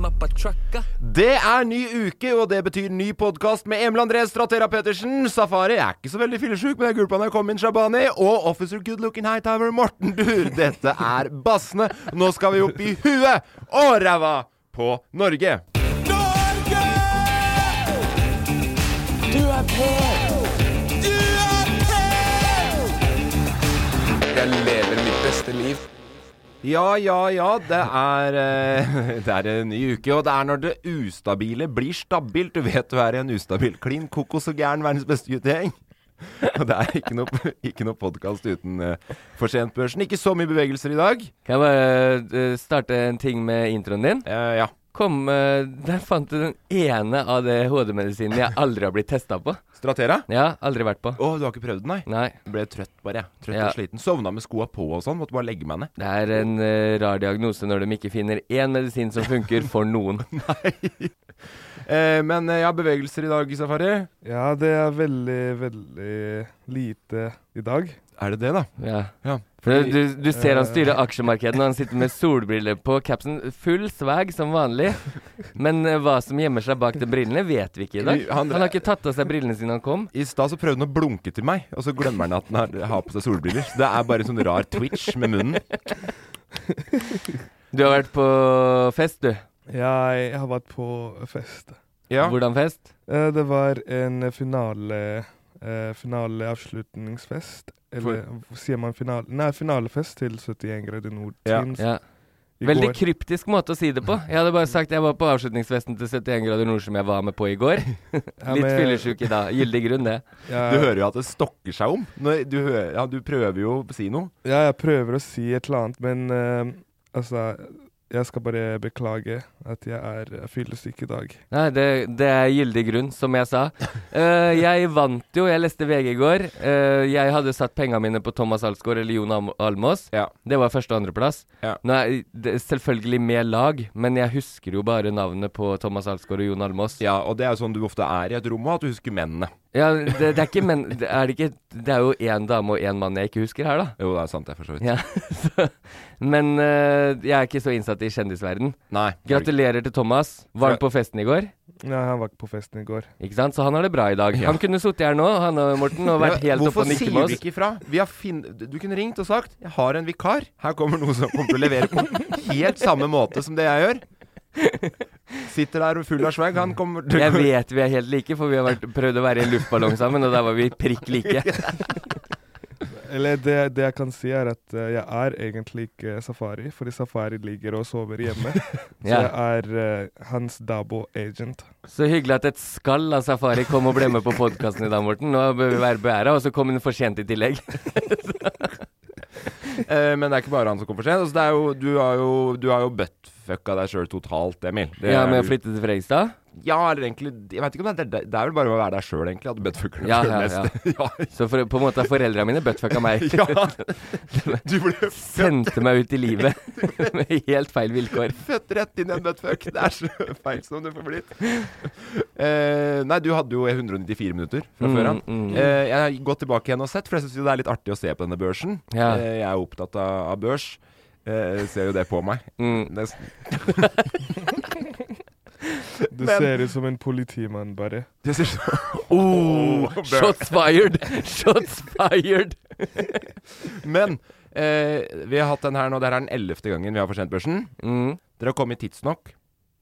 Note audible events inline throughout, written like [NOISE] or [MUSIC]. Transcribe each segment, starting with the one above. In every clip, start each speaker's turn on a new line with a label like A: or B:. A: Det er ny uke, og det betyr ny podkast med Emil André Stratera Petersen. Safari er ikke så veldig fyllesyk, men jeg gulpa da jeg kom inn, Shabani. Og officer good looking hightower Morten Dur. Dette er bassene. Nå skal vi opp i huet og ræva på Norge.
B: Norge! Du er på! Du er på! Jeg lever mitt beste liv.
A: Ja, ja, ja. Det er, eh, [LAUGHS] det er en ny uke, og det er når det ustabile blir stabilt. Du vet du er i en ustabil klin kokos og gæren verdens beste guttegjeng. [LAUGHS] Og det er ikke noe, ikke noe podkast uten uh, For sent-børsen. Ikke så mye bevegelser i dag.
C: Kan jeg bare eh, starte en ting med introen din?
A: Eh, ja.
C: Kom, eh, Der fant du den ene av det hodemedisinen jeg aldri har blitt testa på.
A: Stratera? Å,
C: Ja, aldri vært på.
A: du har ikke prøvd den, nei?
C: Nei.
A: Jeg ble trøtt bare, jeg. Trøtt
C: Ja.
A: og sliten. Sovna med skoa på og sånn. Måtte bare legge meg ned.
C: Det er en eh, rar diagnose når de ikke finner én medisin som funker for noen.
A: Eh, men eh, ja, bevegelser i dag, Safari.
D: Ja, det er veldig, veldig lite i dag.
A: Er det det, da?
C: Ja.
A: Ja.
C: For du, du ser han styrer aksjemarkedet når han sitter med solbriller på capsen. Full swag som vanlig. Men eh, hva som gjemmer seg bak de brillene, vet vi ikke i dag.
A: Vi- han-
C: Han har ikke tatt av seg brillene siden han kom.
A: I stad så prøvde han å blunke til meg, og så glemmer han at han har, har på seg solbriller. Så Det er bare sånn rar twitch med munnen.
C: Du har vært på fest, du.
D: Jeg har vært på fest.
A: Ja.
C: Hvordan fest?
D: Eh, Det var en finale eh, finaleavslutningsfest. Eller sier man finale Nei, finalefest til 71 grader nord
A: Ja,
D: Teams
C: Ja.
D: i
C: Veldig
D: går.
C: kryptisk måte å si det på. Jeg hadde bare sagt jeg var på avslutningsfesten til 71 grader nord som jeg var med på i går.
D: [LAUGHS] Ja,
C: Litt
D: men-
C: fyllesyk i dag. Gyldig grunn, det.
D: Ja,
A: Du hører jo at det stokker seg om. Når du, hører, ja, du prøver jo å si noe.
D: ja, jeg prøver å si et eller annet, men eh, altså Jeg skal bare beklage at jeg er fyllesyk i dag.
C: Nei, det, det er gyldig grunn, som jeg sa. Eh, jeg vant jo, jeg leste VG i går. Eh, jeg hadde satt pengene mine på Thomas Alsgaard eller Jon Alm- Almås.
A: Ja.
C: Det var første- og andreplass.
A: Ja.
C: Nå er det selvfølgelig med lag, men jeg husker jo bare navnet på Thomas Alsgaard og Jon Almås.
A: ja, og det er jo sånn du ofte er i et rom, og at du husker mennene.
C: Ja, det, det er ikke men... Det er, det ikke, det er jo én dame og én mann jeg ikke husker her, da.
A: Jo, det er sant, det, for så vidt.
C: Ja, [LAUGHS] så, men eh, jeg er ikke så innsatt i kjendisverden.
A: Nei.
C: Gratulerer til Thomas. Var han på festen i går?
D: Ja, jeg var ikke på festen i går.
C: Ikke sant? Så han har det bra i dag. Han kunne sittet her nå, han og Morten, og vært helt oppe
A: Hvorfor
C: og nikket
A: sier
C: med
A: du
C: oss.
A: ikke ifra? Vi har fin du kunne ringt og sagt 'Jeg har en vikar'. Her kommer noen som kommer til å levere på helt samme måte som det jeg gjør. Sitter der og full av swag. Han kommer
C: Jeg vet vi er helt like, for vi har vært, prøvd å være i en luftballong sammen, og der var vi prikk like.
A: [LAUGHS]
D: Eller det, det jeg kan si, er at eh, jeg er egentlig ikke safari, fordi safari ligger og sover
C: [LAUGHS]
D: hjemme. Så jeg
C: Ja.
D: er eh, hans dabo-agent.
C: Så hyggelig at et skall av Safari kom og ble med på podkasten i dag, Morten. Nå bør vi være beæra, og så kom hun for sent i tillegg.
A: Eh, men det er ikke bare han som kommer for sent. Altså, det er jo, du har jo, du har jo buttfucka deg sjøl totalt, Emil. Det
C: Ja,
A: er
C: med å
A: jo-
C: flytte til Fredrikstad.
A: Ja, eller egentlig Jeg vet ikke om det er det, det er vel bare å være deg sjøl, egentlig, at du buttfucker deg
C: Ja,
A: sjøl
C: ja,
A: mest. [LAUGHS] Ja.
C: Så for, på en måte har foreldra mine buttfucka meg.
A: [LAUGHS] ja.
C: [LAUGHS]
A: Du ble
C: Sendte meg ut i
A: [LAUGHS]
C: livet med helt feil vilkår.
A: født rett inn i en buttfuck. Det er så [LAUGHS] feil som det får blitt. Eh, nei, du hadde jo 194 minutter fra
C: Mm,
A: før av.
C: mm.
A: Eh, jeg har gått tilbake igjen og sett, for jeg syns jo det er litt artig å se på denne børsen.
C: Ja.
A: Eh, jeg er opptatt av, av børs. Eh, ser jo det på meg.
C: Mm.
A: Nesten.
D: Du
A: Men-
D: ser ut som en politimann, bare.
A: Det ser så
C: [LAUGHS]
A: [LAUGHS] Bør.
C: Oh, Shots fired! [LAUGHS] Shots fired!
A: Men eh, vi har hatt den her nå. Det her er den ellevte gangen vi har forsendt børsen.
C: Mm.
A: Dere har kommet tidsnok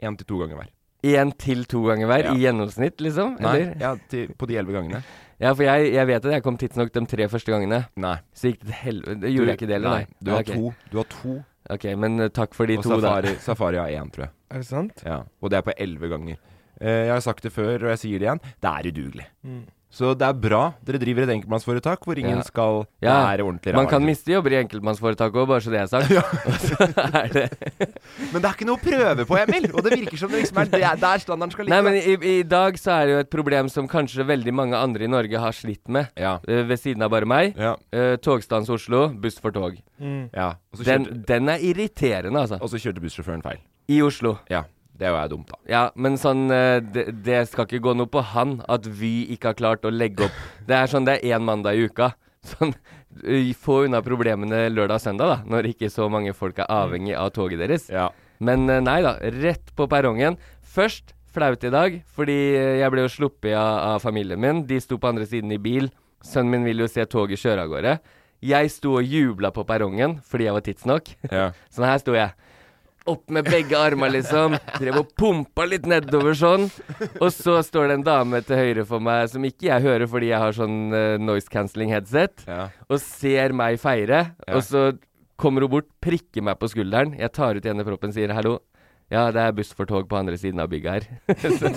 A: én til to ganger hver.
C: Én til to ganger hver
A: Ja.
C: i gjennomsnitt, liksom?
A: Nei,
C: Eller?
A: ja, til, på de elleve gangene.
C: Ja, for jeg, jeg vet at jeg kom tidsnok de tre første gangene.
A: Nei.
C: Så gikk det til helvete Det Gjorde jeg ikke det, eller?
A: Nei, Du har
C: Ok.
A: to. Du har to,
C: Ok, men eh, takk for de
A: og
C: to,
A: Safari,
C: da.
A: Safari har én, tror jeg.
D: Er det sant?
A: Ja. Og det er på elleve ganger. Eh, jeg har sagt det før, og jeg sier det igjen. Det er udugelig.
D: Mm.
A: Så det er bra dere driver et enkeltmannsforetak hvor ingen
C: Ja.
A: skal
C: Ja,
A: være ordentlig
C: Man
A: rar.
C: kan miste jobber i enkeltmannsforetak òg, bare så det er
A: [LAUGHS]
C: sagt. Og så er det
A: Men det er ikke noe å prøve på, Emil! Og det virker som det liksom er der, der standarden skal ligge.
C: Nei, men i, i dag så er det jo et problem som kanskje veldig mange andre i Norge har slitt med.
A: Ja.
C: Eh, ved siden av bare meg.
A: Ja.
C: Eh, togstans Oslo, buss for tog.
A: ja. Og så
C: Mm. Den,
A: kjørte,
C: den er irriterende, altså.
A: og så kjørte bussjåføren feil.
C: I Oslo.
A: Ja. Det er jo dumt, da.
C: Ja, men sånn eh, det, det skal ikke gå noe på han at Vy ikke har klart å legge
A: [LAUGHS]
C: opp. Det er sånn det er én mandag i uka. Sånn, eh, Få unna problemene lørdag og søndag, da, når ikke så mange folk er avhengig av toget deres.
A: Ja.
C: Men eh, nei da, rett på perrongen. Først flaut i dag, fordi eh, jeg ble jo sluppet av, av familien min. De sto på andre siden i bil. Sønnen min ville jo se toget kjøre av gårde. Jeg sto og jubla på perrongen fordi jeg var tidsnok. [LAUGHS]
A: Ja.
C: Sånn her sto jeg. Opp med begge armer, liksom. Drev og pumpa litt nedover sånn. Og så står det en dame til høyre for meg som ikke jeg hører fordi jeg har sånn eh, noise cancelling headset
A: Ja.
C: og ser meg feire.
A: Ja.
C: Og så kommer hun bort, prikker meg på skulderen. Jeg tar ut igjen i proppen, sier hallo. Ja, det er buss for tog på andre siden av bygget her. [LAUGHS] så,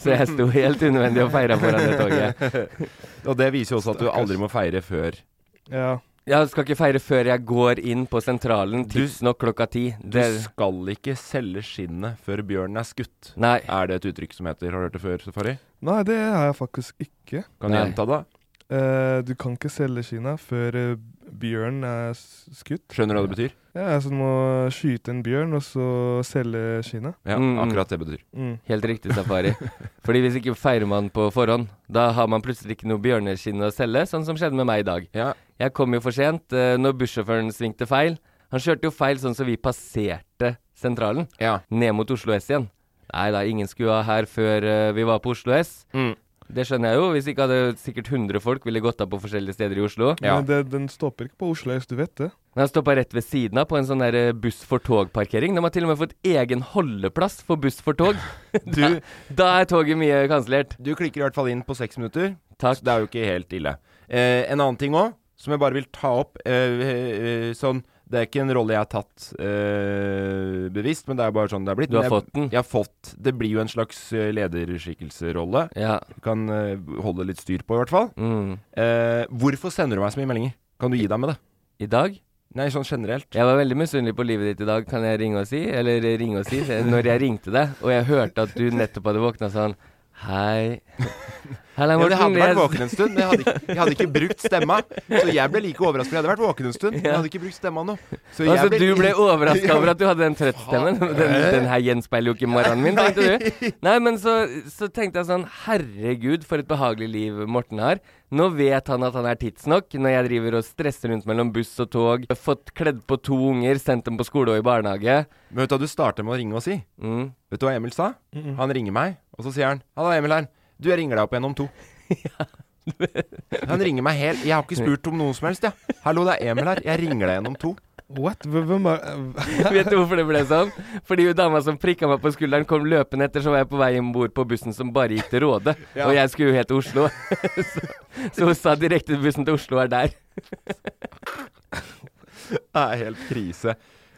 C: så jeg sto helt unødvendig og feira foran det toget.
A: Og det viser jo også at du aldri må feire før
D: Ja.
C: Jeg skal ikke feire før jeg går inn på sentralen tidsnok klokka ti.
A: Du
C: Det,
A: skal ikke selge skinnet før bjørnen er skutt.
C: nei.
A: Er det et uttrykk som heter Har du hørt det før, Safari?
D: Nei, det har jeg faktisk ikke.
A: Kan du
C: Nei.
A: gjenta det?
D: Eh, du kan ikke selge Kina før eh, bjørnen er s- skutt.
A: Skjønner du hva det betyr?
D: Ja, altså du må skyte en bjørn, og så selge Kina.
A: Ja,
C: Mm, mm.
A: akkurat det betyr.
D: Mm.
C: Helt riktig, Safari. Fordi hvis ikke feirer man på forhånd, da har man plutselig ikke noe bjørneskinn å selge, sånn som skjedde med meg i dag.
A: Ja.
C: Jeg kom jo for sent eh, når bussjåføren svingte feil. Han kjørte jo feil sånn som vi passerte sentralen,
A: Ja.
C: ned mot Oslo S igjen. Nei da, ingen skulle ha her før eh, vi var på Oslo S. Det skjønner jeg jo, hvis ikke hadde sikkert 100 folk ville gått av på forskjellige steder i Oslo.
A: Ja.
D: Men det, den stopper ikke på Oslo øst, du vet det.
C: Men han stoppa rett ved siden av på en sånn der eh, buss for tog-parkering. De har til og med fått egen holdeplass for buss for tog. da, [LAUGHS] da er toget mye kansellert.
A: Du klikker i hvert fall inn på seks minutter,
C: Takk.
A: så det er jo ikke helt ille. Eh, en annen ting òg, som jeg bare vil ta opp eh, eh, Sånn, det er ikke en rolle jeg har tatt eh, bevisst, men det er bare sånn det er blitt.
C: Du har
A: Men jeg,
C: fått den.
A: Jeg har fått Det blir jo en slags eh, lederskikkelserolle.
C: Ja.
A: Kan eh, holde litt styr på, i hvert fall.
C: Mm.
A: Eh, hvorfor sender du meg så mye meldinger? Kan du gi deg med det?
C: I dag?
A: Nei, sånn generelt.
C: Jeg var veldig misunnelig på livet ditt i dag, kan jeg ringe og si? Eller eh, ringe og si, se, når jeg ringte deg, og jeg hørte at du nettopp hadde våkna sånn [LAUGHS] Hei. Halla,
A: Ja, men
C: Morten.
A: jeg hadde vært
C: jeg-
A: våken en stund, men jeg hadde, ikke, jeg hadde ikke brukt stemma. Så jeg ble like overrasket. for Jeg hadde vært våken en stund, men jeg hadde ikke brukt stemma nå. Så jeg
C: Altså, du ble overraska
A: Ja.
C: over at du hadde den trøttstemmen. Den, den her gjenspeiler jo ikke morgenen min, tenkte du. Nei, men så, så tenkte jeg sånn Herregud, for et behagelig liv Morten har. Nå vet han at han er tidsnok, når jeg driver og stresser rundt mellom buss og tog. Fått kledd på to unger, sendt dem på skole og i barnehage.
A: Men vet du hva du starter med å ringe og si?
C: Mm.
A: Vet du hva Emil sa? Han ringer meg, og så sier han 'Halla, Emil her. Du, jeg ringer deg opp igjen om
C: [LAUGHS]
A: to'. Han ringer meg helt Jeg har ikke spurt om noe som helst, jeg. Ja. 'Hallo, det er Emil her. Jeg ringer deg igjen om to'.
D: What? Hv- Hvem er eh,
C: [LAUGHS] Vet du hvorfor det ble sånn? Fordi hun dama som prikka meg på skulderen, kom løpende etter, så var jeg på vei om bord på bussen som bare gikk til Råde.
A: [LAUGHS]
C: Og jeg skulle jo helt til Oslo. [LAUGHS] så, så hun sa direkte bussen til Oslo er der.
A: Det er helt krise.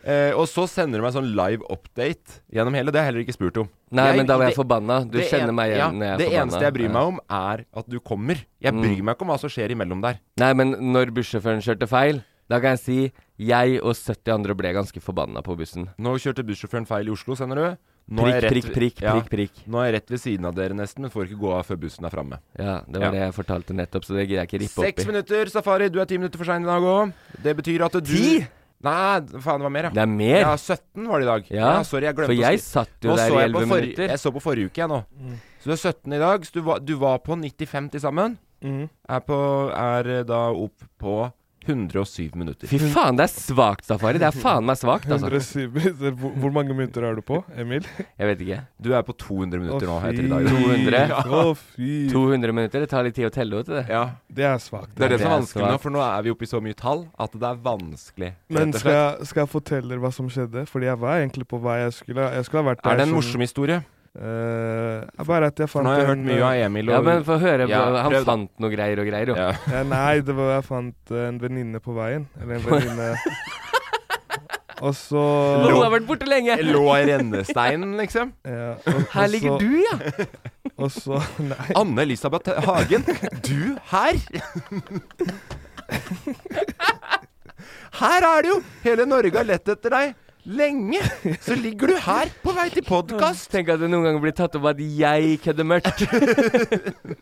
A: Eh, og så sender du meg sånn live update gjennom hele. Det har jeg heller ikke spurt om.
C: Nei,
A: Jeg-
C: men da var jeg
A: det-
C: forbanna. Du
A: det
C: kjenner
A: en-
C: meg igjen
A: ja,
C: når jeg er
A: Det
C: forbanna.
A: eneste jeg bryr
C: Ja.
A: meg om,
C: Mm.
A: er at du kommer. Jeg bryr meg ikke om hva som skjer imellom der.
C: Nei, men når bussjåføren kjørte feil, Da kan jeg si jeg og 70 andre ble ganske forbanna på bussen.
A: Nå kjørte bussjåføren feil i Oslo, sender du? Nå er
C: Prikk,
A: jeg rett
C: prikk,
A: ved-
C: prikk,
A: ja.
C: prikk, prikk.
A: Nå er jeg rett ved siden av dere nesten, men får ikke gå av før bussen er framme.
C: Ja, det var
A: Ja.
C: det jeg fortalte nettopp, så det gidder jeg ikke rippe opp
A: Seks
C: i.
A: minutter, Safari. Du er ti minutter for sein i dag òg. Det betyr at du
C: Ti?
A: Nei, faen, det var mer, ja.
C: Det er mer!
A: Ja, 17 var det i dag.
C: Ja,
A: sorry, jeg glemte
C: for jeg
A: å si.
C: satt jo
A: Nå
C: der
A: så
C: i
A: jeg på
C: 11
A: forri-
C: minutter.
A: Jeg så på forrige uke, jeg nå. Så du er 17 i dag. Så du var, du var på 95 til sammen.
D: Mm.
A: Er, på, er eh, da opp på 107 minutter.
C: Fy faen, det er svakt, Safari. Det [LAUGHS] er faen meg svakt, altså.
D: 107 minutter. [LAUGHS] Hvor hvor mange minutter er du på, Emil?
C: Jeg vet ikke.
A: Du er på 200
D: Å,
A: minutter nå,
D: fy.
A: heter det i dag.
C: 200.
D: Å, fy.
C: 200 minutter. Det tar litt tid å telle ut, det.
A: Ja.
D: Det er svakt.
A: Det er det
C: Det
A: som er
C: er
A: vanskelig nå, for nå er vi oppe i så mye tall at det er vanskelig. rett
D: Men
A: og
D: skal
A: slett.
D: jeg, skal jeg fortelle dere hva som skjedde? Fordi jeg var egentlig på vei. Jeg skulle, jeg skulle ha vært der
A: Er det en
D: som-
A: morsom historie?
D: Eh, bare at jeg
A: For
D: fant
A: nå har jeg
D: en, eh,
A: hørt mye av Emil og
C: Ja, men få høre.
A: Ja,
C: hva- han
A: prøv da.
C: fant noe greier og greier, jo.
A: Ja.
D: Ja, nei, det var jeg fant eh, en venninne på veien.
A: [LAUGHS]
D: Eller en venninne Og så
C: Hun har vært borte
A: [LAUGHS]
C: lenge!
A: Jeg Lå i rennesteinen, liksom.
D: ja, og,
C: Her ligger du, ja!
D: Og så [LAUGHS] Nei.
A: Anne-Elisabeth Hagen, du her? [LAUGHS] Her er det jo! Hele Norge har lett etter deg lenge. Så ligger du her på vei til podkast.
C: Tenk at det noen ganger blir tatt opp at jeg kødder
A: [LAUGHS]
C: mørkt.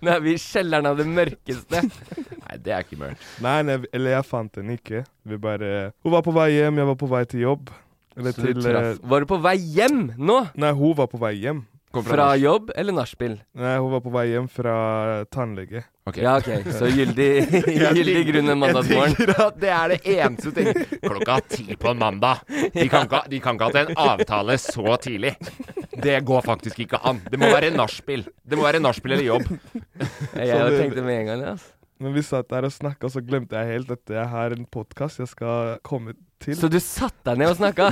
C: Nå er vi i kjelleren av det mørkeste.
A: [LAUGHS] Nei, det er ikke mørkt.
D: nei, nei, eller jeg fant henne ikke. Vi bare Hun var på vei hjem, jeg var på vei til jobb. Eller
C: Så du
D: til eh,
C: traff Var du på vei hjem nå?
D: Nei, hun var på vei hjem.
C: Fra jobb eller nachspiel?
D: Nei, hun var på vei hjem fra tannlege.
A: Ok.
C: Ja, OK. Så gyldig,
A: [LAUGHS]
C: gyldig grunn en mandagsmorgen.
A: Jeg digger at det er det eneste ting. Klokka ti på en mandag. De kan ikke, de kan ikke ha hatt en avtale så tidlig. Det går faktisk ikke an. Det må være nachspiel. Det må være nachspiel eller jobb.
C: Jeg tenkte med en gang det, altså.
D: Men vi satt der og snakka, så glemte jeg helt at jeg har en podkast jeg skal komme til.
C: Så du satte deg ned og snakka?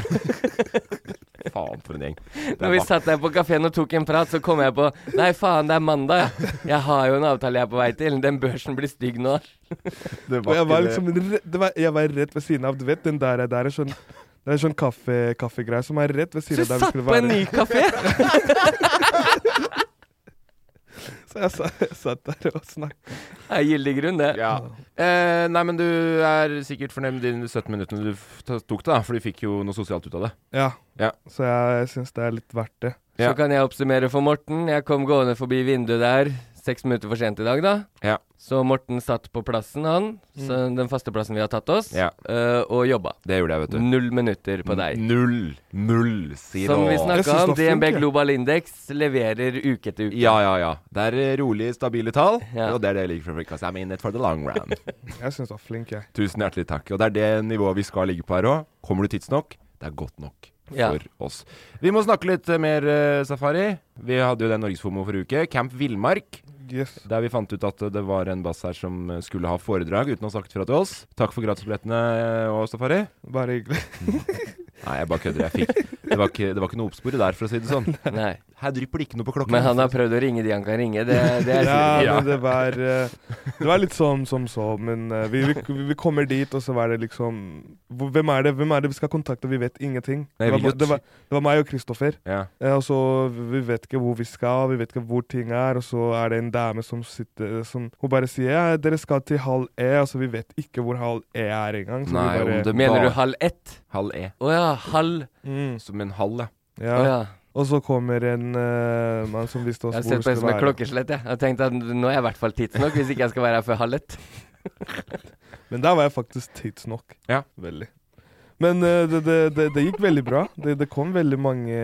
A: Faen, for en gjeng. Det
C: Når vi satt der på kafeen og tok en prat, så kom jeg på Nei, faen, det er mandag. ja. Jeg har jo en avtale jeg er på vei til. Den børsen blir stygg nå.
D: Og jeg var liksom re- det var, Jeg var rett ved siden av Du vet den der, der er sånn Det er sånn kaffe, kaffegreie som er rett ved
C: Så
D: siden
C: du
D: av der vi
C: satt
D: skulle
C: på en
D: være.
C: ny kafé? [LAUGHS]
D: [LAUGHS] Så jeg, sa- jeg satt der og snakka.
C: Det er gyldig grunn, det.
A: Ja. Eh, nei, men du er sikkert fornøyd med de 17 minuttene du f- ta- tok, da. For du fikk jo noe sosialt ut av det.
D: Ja.
A: Ja.
D: Så jeg syns det er litt verdt det.
C: Så
A: Ja.
C: kan jeg oppsummere for Morten. Jeg kom gående forbi vinduet der seks minutter for sent i dag, da.
A: Ja.
C: Så Morten satt på plassen, han. Så den faste plassen vi har tatt oss,
A: Ja.
C: eh, og jobba.
A: Det gjorde jeg, vet du.
C: Null minutter på deg.
A: Null. Null, sier
C: Som
A: nå.
C: vi
D: Jeg
C: snakka
D: synes
C: om,
D: det var
C: DNB
D: flink, jeg.
C: Global Index leverer uke etter uke.
A: Ja, ja, ja. Det er eh, rolig, stabile tall.
C: Ja.
A: Og det er det jeg liker fra Frikast. I'm in it for the long run.
D: Jeg syns du var flink, jeg.
A: Tusen hjertelig takk. Og det er det nivået vi skal ligge på her òg. Kommer du tidsnok, det er godt nok
C: Ja.
A: for oss. Vi må snakke litt eh, mer eh, safari. Vi hadde jo den Norgesfomo forrige uke. Camp Villmark.
D: Yes.
A: Der vi fant ut at eh, det var en bass her som eh, skulle ha foredrag uten å ha sagt fra til oss. Takk for gratisbillettene eh, og safari.
D: Bare hyggelig.
A: Nei, jeg bare kødder. Jeg fikk det var, ikke, det var ikke noe oppsporet der, for å si det sånn.
C: Nei.
A: Her drypper det ikke noe på klokken.
C: Men han har prøvd å ringe de han kan ringe. Det, det er
D: [LAUGHS] Ja,
A: Ja.
D: men det
C: [LAUGHS]
D: var eh, Det var litt sånn som så, men eh, vi, vi, vi kommer dit, og så var det liksom hvor- Hvem er det Hvem er det vi skal kontakte? Vi vet ingenting.
A: Nei,
D: Det var,
A: vi
D: det var, det var meg og Kristoffer.
A: Ja.
D: Eh, Og så vi vi vet ikke hvor vi skal, vi vet ikke hvor ting er. Og så er det en dame som sitter som, Hun bare sier ja, dere skal til halv E, og så vi vet ikke hvor halv E er engang. Så
A: Nei,
D: vi bare,
A: om det-
C: Mener
A: Bare-
C: du halv ett?
A: Halv E.
C: Å ja, halv.
D: mm,
A: Som en halv, ja.
D: ja.
C: Å ja.
D: Og så kommer en eh, mann som visste
C: Jeg
D: oss
C: har
D: hvor vi
C: sett på det
D: skulle
C: som et
D: være.
C: klokkeslett, jeg. Jeg har tenkt at nå er jeg i hvert fall tidsnok, hvis ikke jeg skal være her før halv ett.
D: Men der var jeg faktisk tidsnok.
A: Ja.
D: Veldig. Men eh, det, det, det, det gikk veldig bra. Det, det kom veldig mange,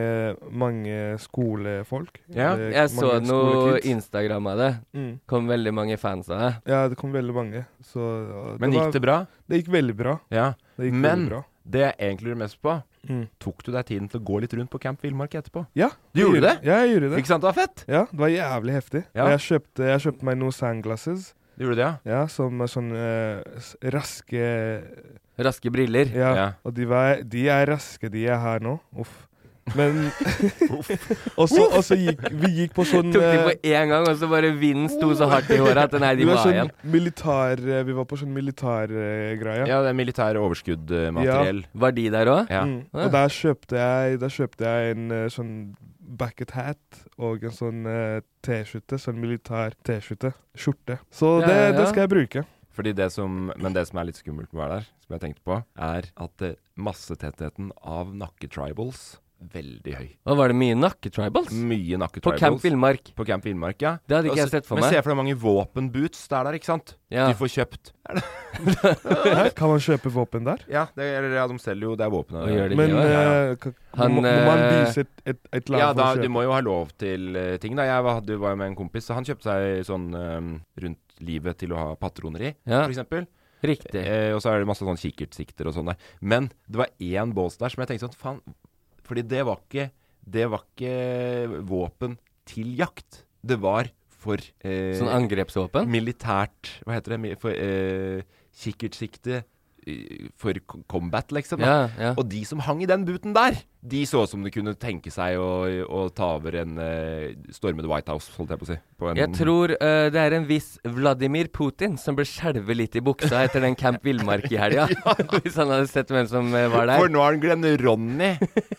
D: mange skolefolk.
A: Ja,
D: Det-
C: Jeg så
D: mange
C: noe
D: skolekids.
C: Instagram av det.
D: Mm.
C: Kom veldig mange fans av det.
D: Ja, det kom veldig mange. Så ja,
A: Men
D: var-
A: gikk det bra?
D: Det gikk veldig bra.
A: Ja.
D: Det gikk
A: Men-
D: veldig bra.
A: Det jeg egentlig lurer mest på,
D: Mm.
A: tok du deg tiden til å gå litt rundt på Camp Villmark etterpå?
D: Ja,
A: Du
D: jeg
A: gjorde det?
D: Ja, jeg gjorde det.
A: Ikke sant, det var fett?
D: Ja, det var jævlig heftig.
A: Ja.
D: Og jeg kjøpte, jeg kjøpte meg noen sunglasses.
A: Du gjorde det, ja?
D: Ja, som er sånn eh, s- raske
C: Raske briller.
D: ja,
A: Ja.
D: og de, var, de er raske, de er her nå. Uff.
A: [LAUGHS]
D: Men [LAUGHS] Og så og så gikk vi gikk på [LAUGHS] sånn
C: Tok de
D: eh,
C: på én gang, og så bare vinden sto så hardt i håret at nei,
D: vi
C: de
D: var
C: var
D: sånn
C: igjen.
D: militær eh, Vi var på sånn militærgreie.
A: Ja, det er militære overskuddmateriell.
C: Var de der òg?
A: Ja.
D: Mm.
C: Ja.
D: Og der kjøpte jeg Der kjøpte jeg en eh, sånn bucket hat og en sånn eh, T-skjorte. Sånn militær T-skjorte. Skjorte. Så
C: Ja,
D: det,
C: ja, ja.
D: det skal jeg bruke.
A: Fordi det som, men det som er litt skummelt med å være der, som jeg tenkte på, er at eh, massetettheten av nakketribals veldig høy.
C: Og var det mye nakketribals?
D: Mm,
A: Mye
C: På
A: nakketribals.
C: Camp Villmark.
A: På Camp Villmark, ja.
C: Det hadde ikke
A: Og
C: jeg
A: se-
C: sett for
A: Men
C: meg.
A: se for deg hvor mange våpenboots det er der, ikke sant?
C: Ja.
A: De får kjøpt.
D: Hæ? Kan man kjøpe våpen der?
A: Ja, det, eller, ja, de selger jo Det er våpen.
C: Og gjør det
D: Men
C: livet.
D: eh, ka-
C: Han,
D: må, må man
C: eh,
D: vise et, et, et eller
A: Ja,
D: annet
A: da,
D: for å
A: du
D: kjøpe?
A: må jo ha lov til eh, ting, da. Jeg var, hadde- var jo med en kompis, så han kjøpte seg sånn eh, rundt livet til å ha patroner i,
C: Ja.
A: for eksempel.
C: Riktig.
A: Eh, og så er det masse sånn kikkertsikter og sånn der. Men det var én bås der som jeg tenkte sånn Faen. Fordi det var ikke Det var ikke våpen til jakt. Det var for eh,
C: Sånn angrepsvåpen?
A: militært Hva heter det? Mi- For eh, kikkertsikte eh, for k- combat, liksom. Da.
C: Ja, ja.
A: Og de som hang i den buten der, de så ut som de kunne tenke seg å, å ta over en eh, storme The White House, holdt jeg på å si. På en,
C: Jeg tror eh, det er en viss Vladimir Putin som bør skjelve litt i buksa etter den Camp Villmark i
A: [LAUGHS]
C: helga. [LAUGHS] Hvis han hadde sett hvem som eh, var
A: For
C: der.
A: nå har han Glenn Ronny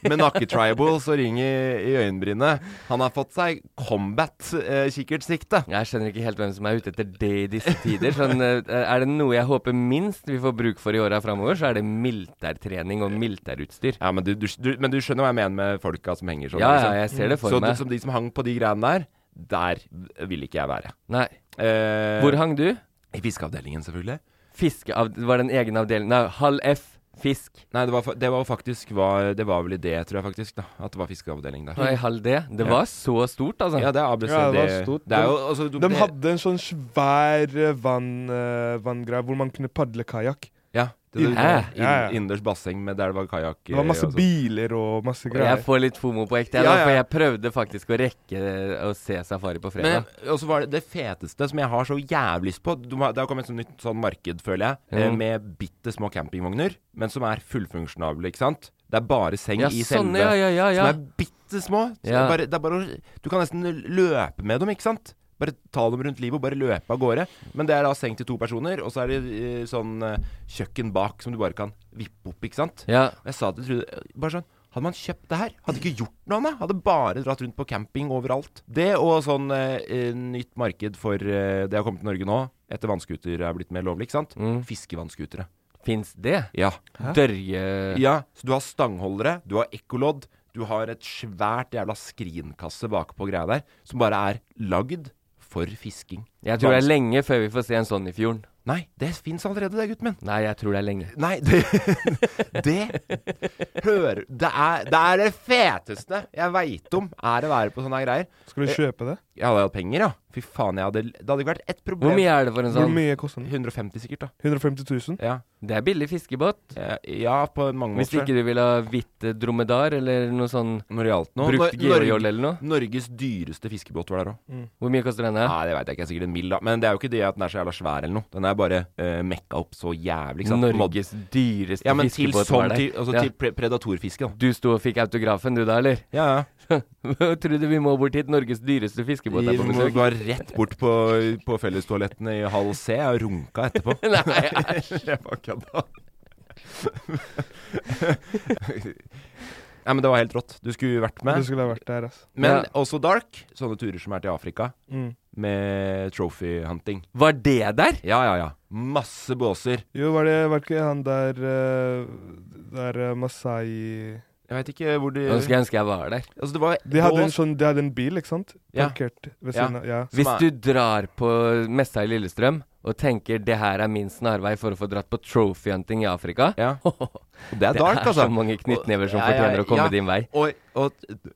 A: med nakketribals og ring i, i øyenbrynet. Han har fått seg eh, combat-kikkertsikte.
C: Jeg skjønner ikke helt hvem som er ute etter det i disse tider. Sånn, eh, er det noe jeg håper minst vi får bruk for i åra framover, så er det militærtrening og militærutstyr.
A: ja, men du, du, du, men du skjønner hva jeg mener med folka som henger sånn?
C: Ja, ja,
A: liksom.
C: jeg ser det for
A: så
C: meg.
A: de- som de som hang på de greiene der, der ville ikke jeg være.
C: Nei.
A: Eh,
C: Hvor hang du?
A: I fiskeavdelingen, selvfølgelig.
C: Fiskeav... Var det en egen avdeling? Nei, halv F. Fisk.
A: Nei, det var, fa- det var faktisk var, Det var vel i det, tror jeg faktisk, da. At det var fiskeavdeling der.
C: Nei, halv D. Det
A: Ja.
C: var så stort, altså.
A: Ja, det er ABC.
D: Ja, det var
A: det,
D: stort.
A: det er jo altså, du-
D: De
A: det-
D: hadde en sånn svær eh, vann, eh, vanngreie hvor man kunne padle kajakk.
A: Ja. Det, det,
C: Hæ?
A: inn-
D: Ja, ja.
A: Innendørs basseng med der det var kajakk.
D: Det var masse biler og masse
C: altså. Og jeg
D: greier.
C: får litt fomo på ekte, jeg,
A: Ja,
C: da,
A: ja.
C: for jeg prøvde faktisk å rekke eh, å se Safari på fredag.
A: Men, og så var det det feteste som jeg har så jævlig lyst på. Du må- Det har kommet et sånt nytt sånn marked, føler jeg, eh,
C: Mm.
A: med bitte små campingvogner, men som er fullfunksjonable, ikke sant? Det er bare seng
C: Ja,
A: i
C: sånn,
A: selve
C: ja, ja, ja, ja.
A: Som er bitte små. Så
C: Ja.
A: det, er bare, det er bare å Du kan nesten løpe med dem, ikke sant? Bare ta dem rundt livet og bare løpe av gårde. Men det er da seng til to personer, og så er det eh, sånn eh, kjøkken bak som du bare kan vippe opp, ikke sant?
C: Ja.
A: Og Jeg sa til Trude bare sånn Hadde man kjøpt det her, hadde ikke gjort noe annet. Hadde bare dratt rundt på camping overalt. Det og sånn eh, eh, nytt marked for eh, Det har kommet til Norge nå, etter vannskuter er blitt mer lovlig, ikke
C: Mm.
A: sant? Fiskevannskutere.
C: Fins det?
A: Ja.
C: Dørje
A: ja. Så du har stangholdere, du har ekkolodd, du har et svært jævla skrinkasse bakpå greia der, som bare er lagd for fisking.
C: Jeg tror det er lenge før vi får se en sånn i fjorden.
A: Nei, det fins allerede, det, gutten min.
C: Nei, jeg tror det er lenge.
A: Nei, det, [LAUGHS] det Hører det er, det er det feteste jeg veit om, er å være på sånne greier.
D: Skal du kjøpe det?
A: Jeg hadde hatt penger, ja. Fy faen, jeg hadde, det hadde ikke vært ett problem.
C: Hvor mye er det for en
D: Hvor
C: sånn?
D: mye koster den?
A: 150 sikkert, da.
D: 150 000?
A: Ja,
C: Det er billig fiskebåt.
A: Eh, ja på mange
C: Hvis
A: måter.
C: ikke du vil ha hvitt eh, dromedar eller noe sånn
A: Når det gjaldt noe.
C: brukt
A: Nor-
C: georgjolle eller noe.
A: Norges dyreste fiskebåt var der òg.
C: Hvor mye koster denne?
A: Nei, det veit jeg ikke. Sikkert en mild, da. Men det er jo ikke det at den er så jævla svær eller noe. Den er bare eh, mekka opp så jævlig. Ikke sant? Mod-
C: Norges dyreste
A: ja, men til
C: fiskebåt
A: sånn,
C: var
A: til,
C: der.
A: altså,
C: Ja.
A: til pre predatorfiske, da.
C: Du sto og fikk autografen du da, eller? [LAUGHS]
A: Ja, ja.
C: tror du vi må bort hit? Norges dyreste fiskebåt
A: Vi
C: er på
A: må
C: besøk.
A: gå rett bort på, på fellestoalettene i halv C og runka etterpå.
C: [LAUGHS] [LAUGHS]
A: [LAUGHS]
C: Nei, æsj.
A: Jeg bare kødda. Nei, men det var helt rått. Du skulle vært
D: Du
A: med.
D: skulle ha vært der, altså.
A: Men
C: Ja.
A: også Dark. Sånne turer som er til Afrika.
D: Mm.
A: Med trophy hunting.
C: Var det der?
A: Ja, ja, ja. Masse båser.
D: Jo, var det var ikke han der eh, Der eh, Masai
A: Jeg veit ikke hvor de
C: Nå skulle jeg ønske jeg var der.
A: Altså, det var
D: De hadde, en
A: bås
D: sånn, de hadde en bil, ikke sant?
A: Ja.
D: Parkert
A: Ja.
D: ved siden av. Ja.
C: Hvis
A: er-
C: du drar på messa i Lillestrøm og tenker det her er min snarvei for å få dratt på trophy-hunting i Afrika [LAUGHS]
A: Ja.
C: Det
A: Det er dark,
C: er
A: altså.
C: så mange knyttnever som
A: Og- ja, ja,
C: fortjener å komme
A: ja.
C: din vei.
A: Og, og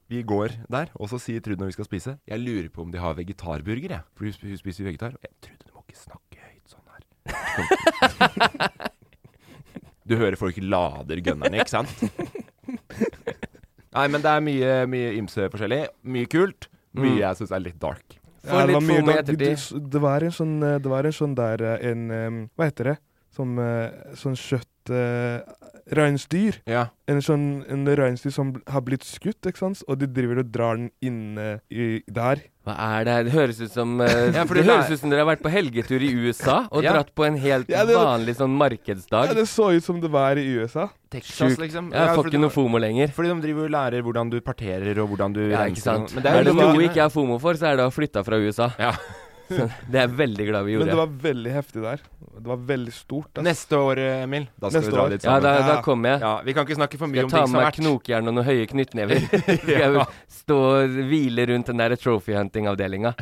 A: vi går der, og så sier Trude når vi skal spise Jeg lurer på om de har vegetarburger, jeg. For hun sp- hun spiser jo vegetar. Og jeg, Trude, du må ikke snakke høyt sånn her. [LAUGHS] Du hører folk lader gunnerne, ikke sant? Nei, men det er mye, mye ymse forskjellig. Mye kult. Mye jeg syns er litt dark.
C: Få
D: Ja, det var
C: litt
D: mye
C: fomo i
D: da- det,
C: ettertid.
D: det- det var en sånn eh, Det var en sånn der eh, en eh, Hva heter det? Som eh, sånn kjøtt eh, Reinsdyr.
A: Ja.
D: En sånn en reinsdyr som bl- har blitt skutt, ikke sant? Og de driver og drar den inne i der.
C: Hva er det her? Det høres ut som eh,
A: Ja, for
C: Det
A: det er-
C: høres ut som dere har vært på helgetur i USA og
A: Ja.
C: dratt på en helt
D: Ja, det-
C: vanlig sånn
D: Ja,
C: markedsdag.
D: det så ut som det var i USA.
A: Texas,
C: Sjukt.
A: liksom.
C: Jeg får
A: fordi,
C: ikke noe fomo lenger.
A: fordi de driver og lærer hvordan du parterer, og hvordan du
C: Ja,
A: renser
C: ikke sant.
A: og- Men det
C: er,
A: er
C: det
A: jo
C: noe
A: noe
C: ikke jeg har fomo for, så er det å ha flytta fra USA.
A: Ja.
C: Så det er jeg veldig glad vi
D: Men det
C: gjorde.
D: var veldig heftig der. Det var veldig stort. ass.
A: Neste år, eh, Emil. Da skal
D: Neste
A: vi dra
D: år.
A: litt
C: Ja,
A: sammen.
C: da,
A: Ja,
C: da kommer jeg.
A: vi kan ikke snakke for mye
C: Jeg
A: om ting
C: tar
A: som
C: med
A: har
C: meg
A: vært.
C: knokjern og noen høye
A: [LAUGHS]
C: knyttnever. [LAUGHS] Skal jeg stå og hvile rundt den der trophy hunting-avdelinga.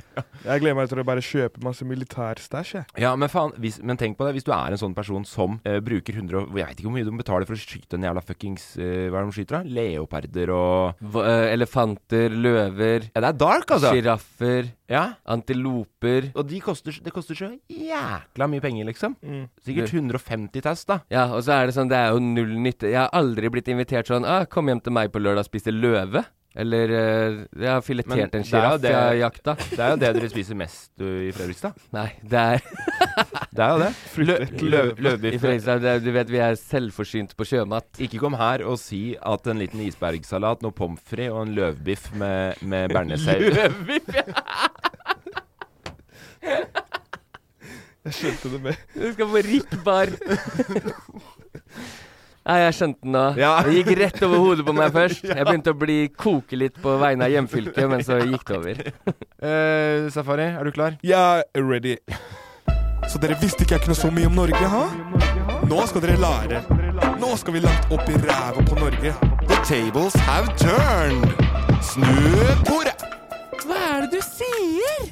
D: Jeg gleder meg til å bare kjøpe masse militærstæsj. jeg.
A: Ja, men faen, hvis, men tenk på det. Hvis du er en sånn person som eh, bruker 100 og Jeg vet ikke hvor mye de betaler for å skyte en jævla fuckings eh, Hva er det de skyter, da? Leoparder og
C: V- eh, Elefanter, løver,
A: Ja, det er dark, altså.
C: sjiraffer,
A: Ja.
C: antiloper.
A: Og de koster, det koster så jækla mye penger, liksom.
D: Mm.
A: Sikkert 150 test, da.
C: Ja, og så er det sånn, det er jo null nytte. Jeg har aldri blitt invitert sånn ah, 'Kom hjem til meg på lørdag og spise løve'. Eller eh, 'Jeg
A: Men
C: har filetert
A: det er
C: en
A: jo
C: sjiraff
A: det-
C: jeg har jakta'.
A: Det er jo det dere spiser mest ø, i Fredrikstad.
C: Nei, det er
A: [LAUGHS] Det [LAUGHS] er jo det. Lø, lø,
C: I
A: løvbiff.
C: Fredrikstad, det er- du vet vi er selvforsynt på sjømat.
A: Ikke kom her og si at en liten isbergsalat, noe pommes frites og en løvbiff med, med [LAUGHS] bearnéssaus
C: Løvbiff, ja!
D: Jeg skjønte det med
C: Du skal på Rick Bar. Nei, jeg skjønte den nå.
A: Ja.
C: Det gikk rett over hodet på meg
D: [LAUGHS]
C: først. Jeg begynte å bli koke litt på vegne av hjemfylket, men så gikk det over.
A: Eh, Safari, er du klar?
D: Jeg er ready.
B: Så dere visste ikke jeg kunne så mye om Norge, ha? Nå skal dere lære. Nå skal vi langt opp i ræva på Norge. The tables have turned. Snu bordet.
C: Hva er det du sier?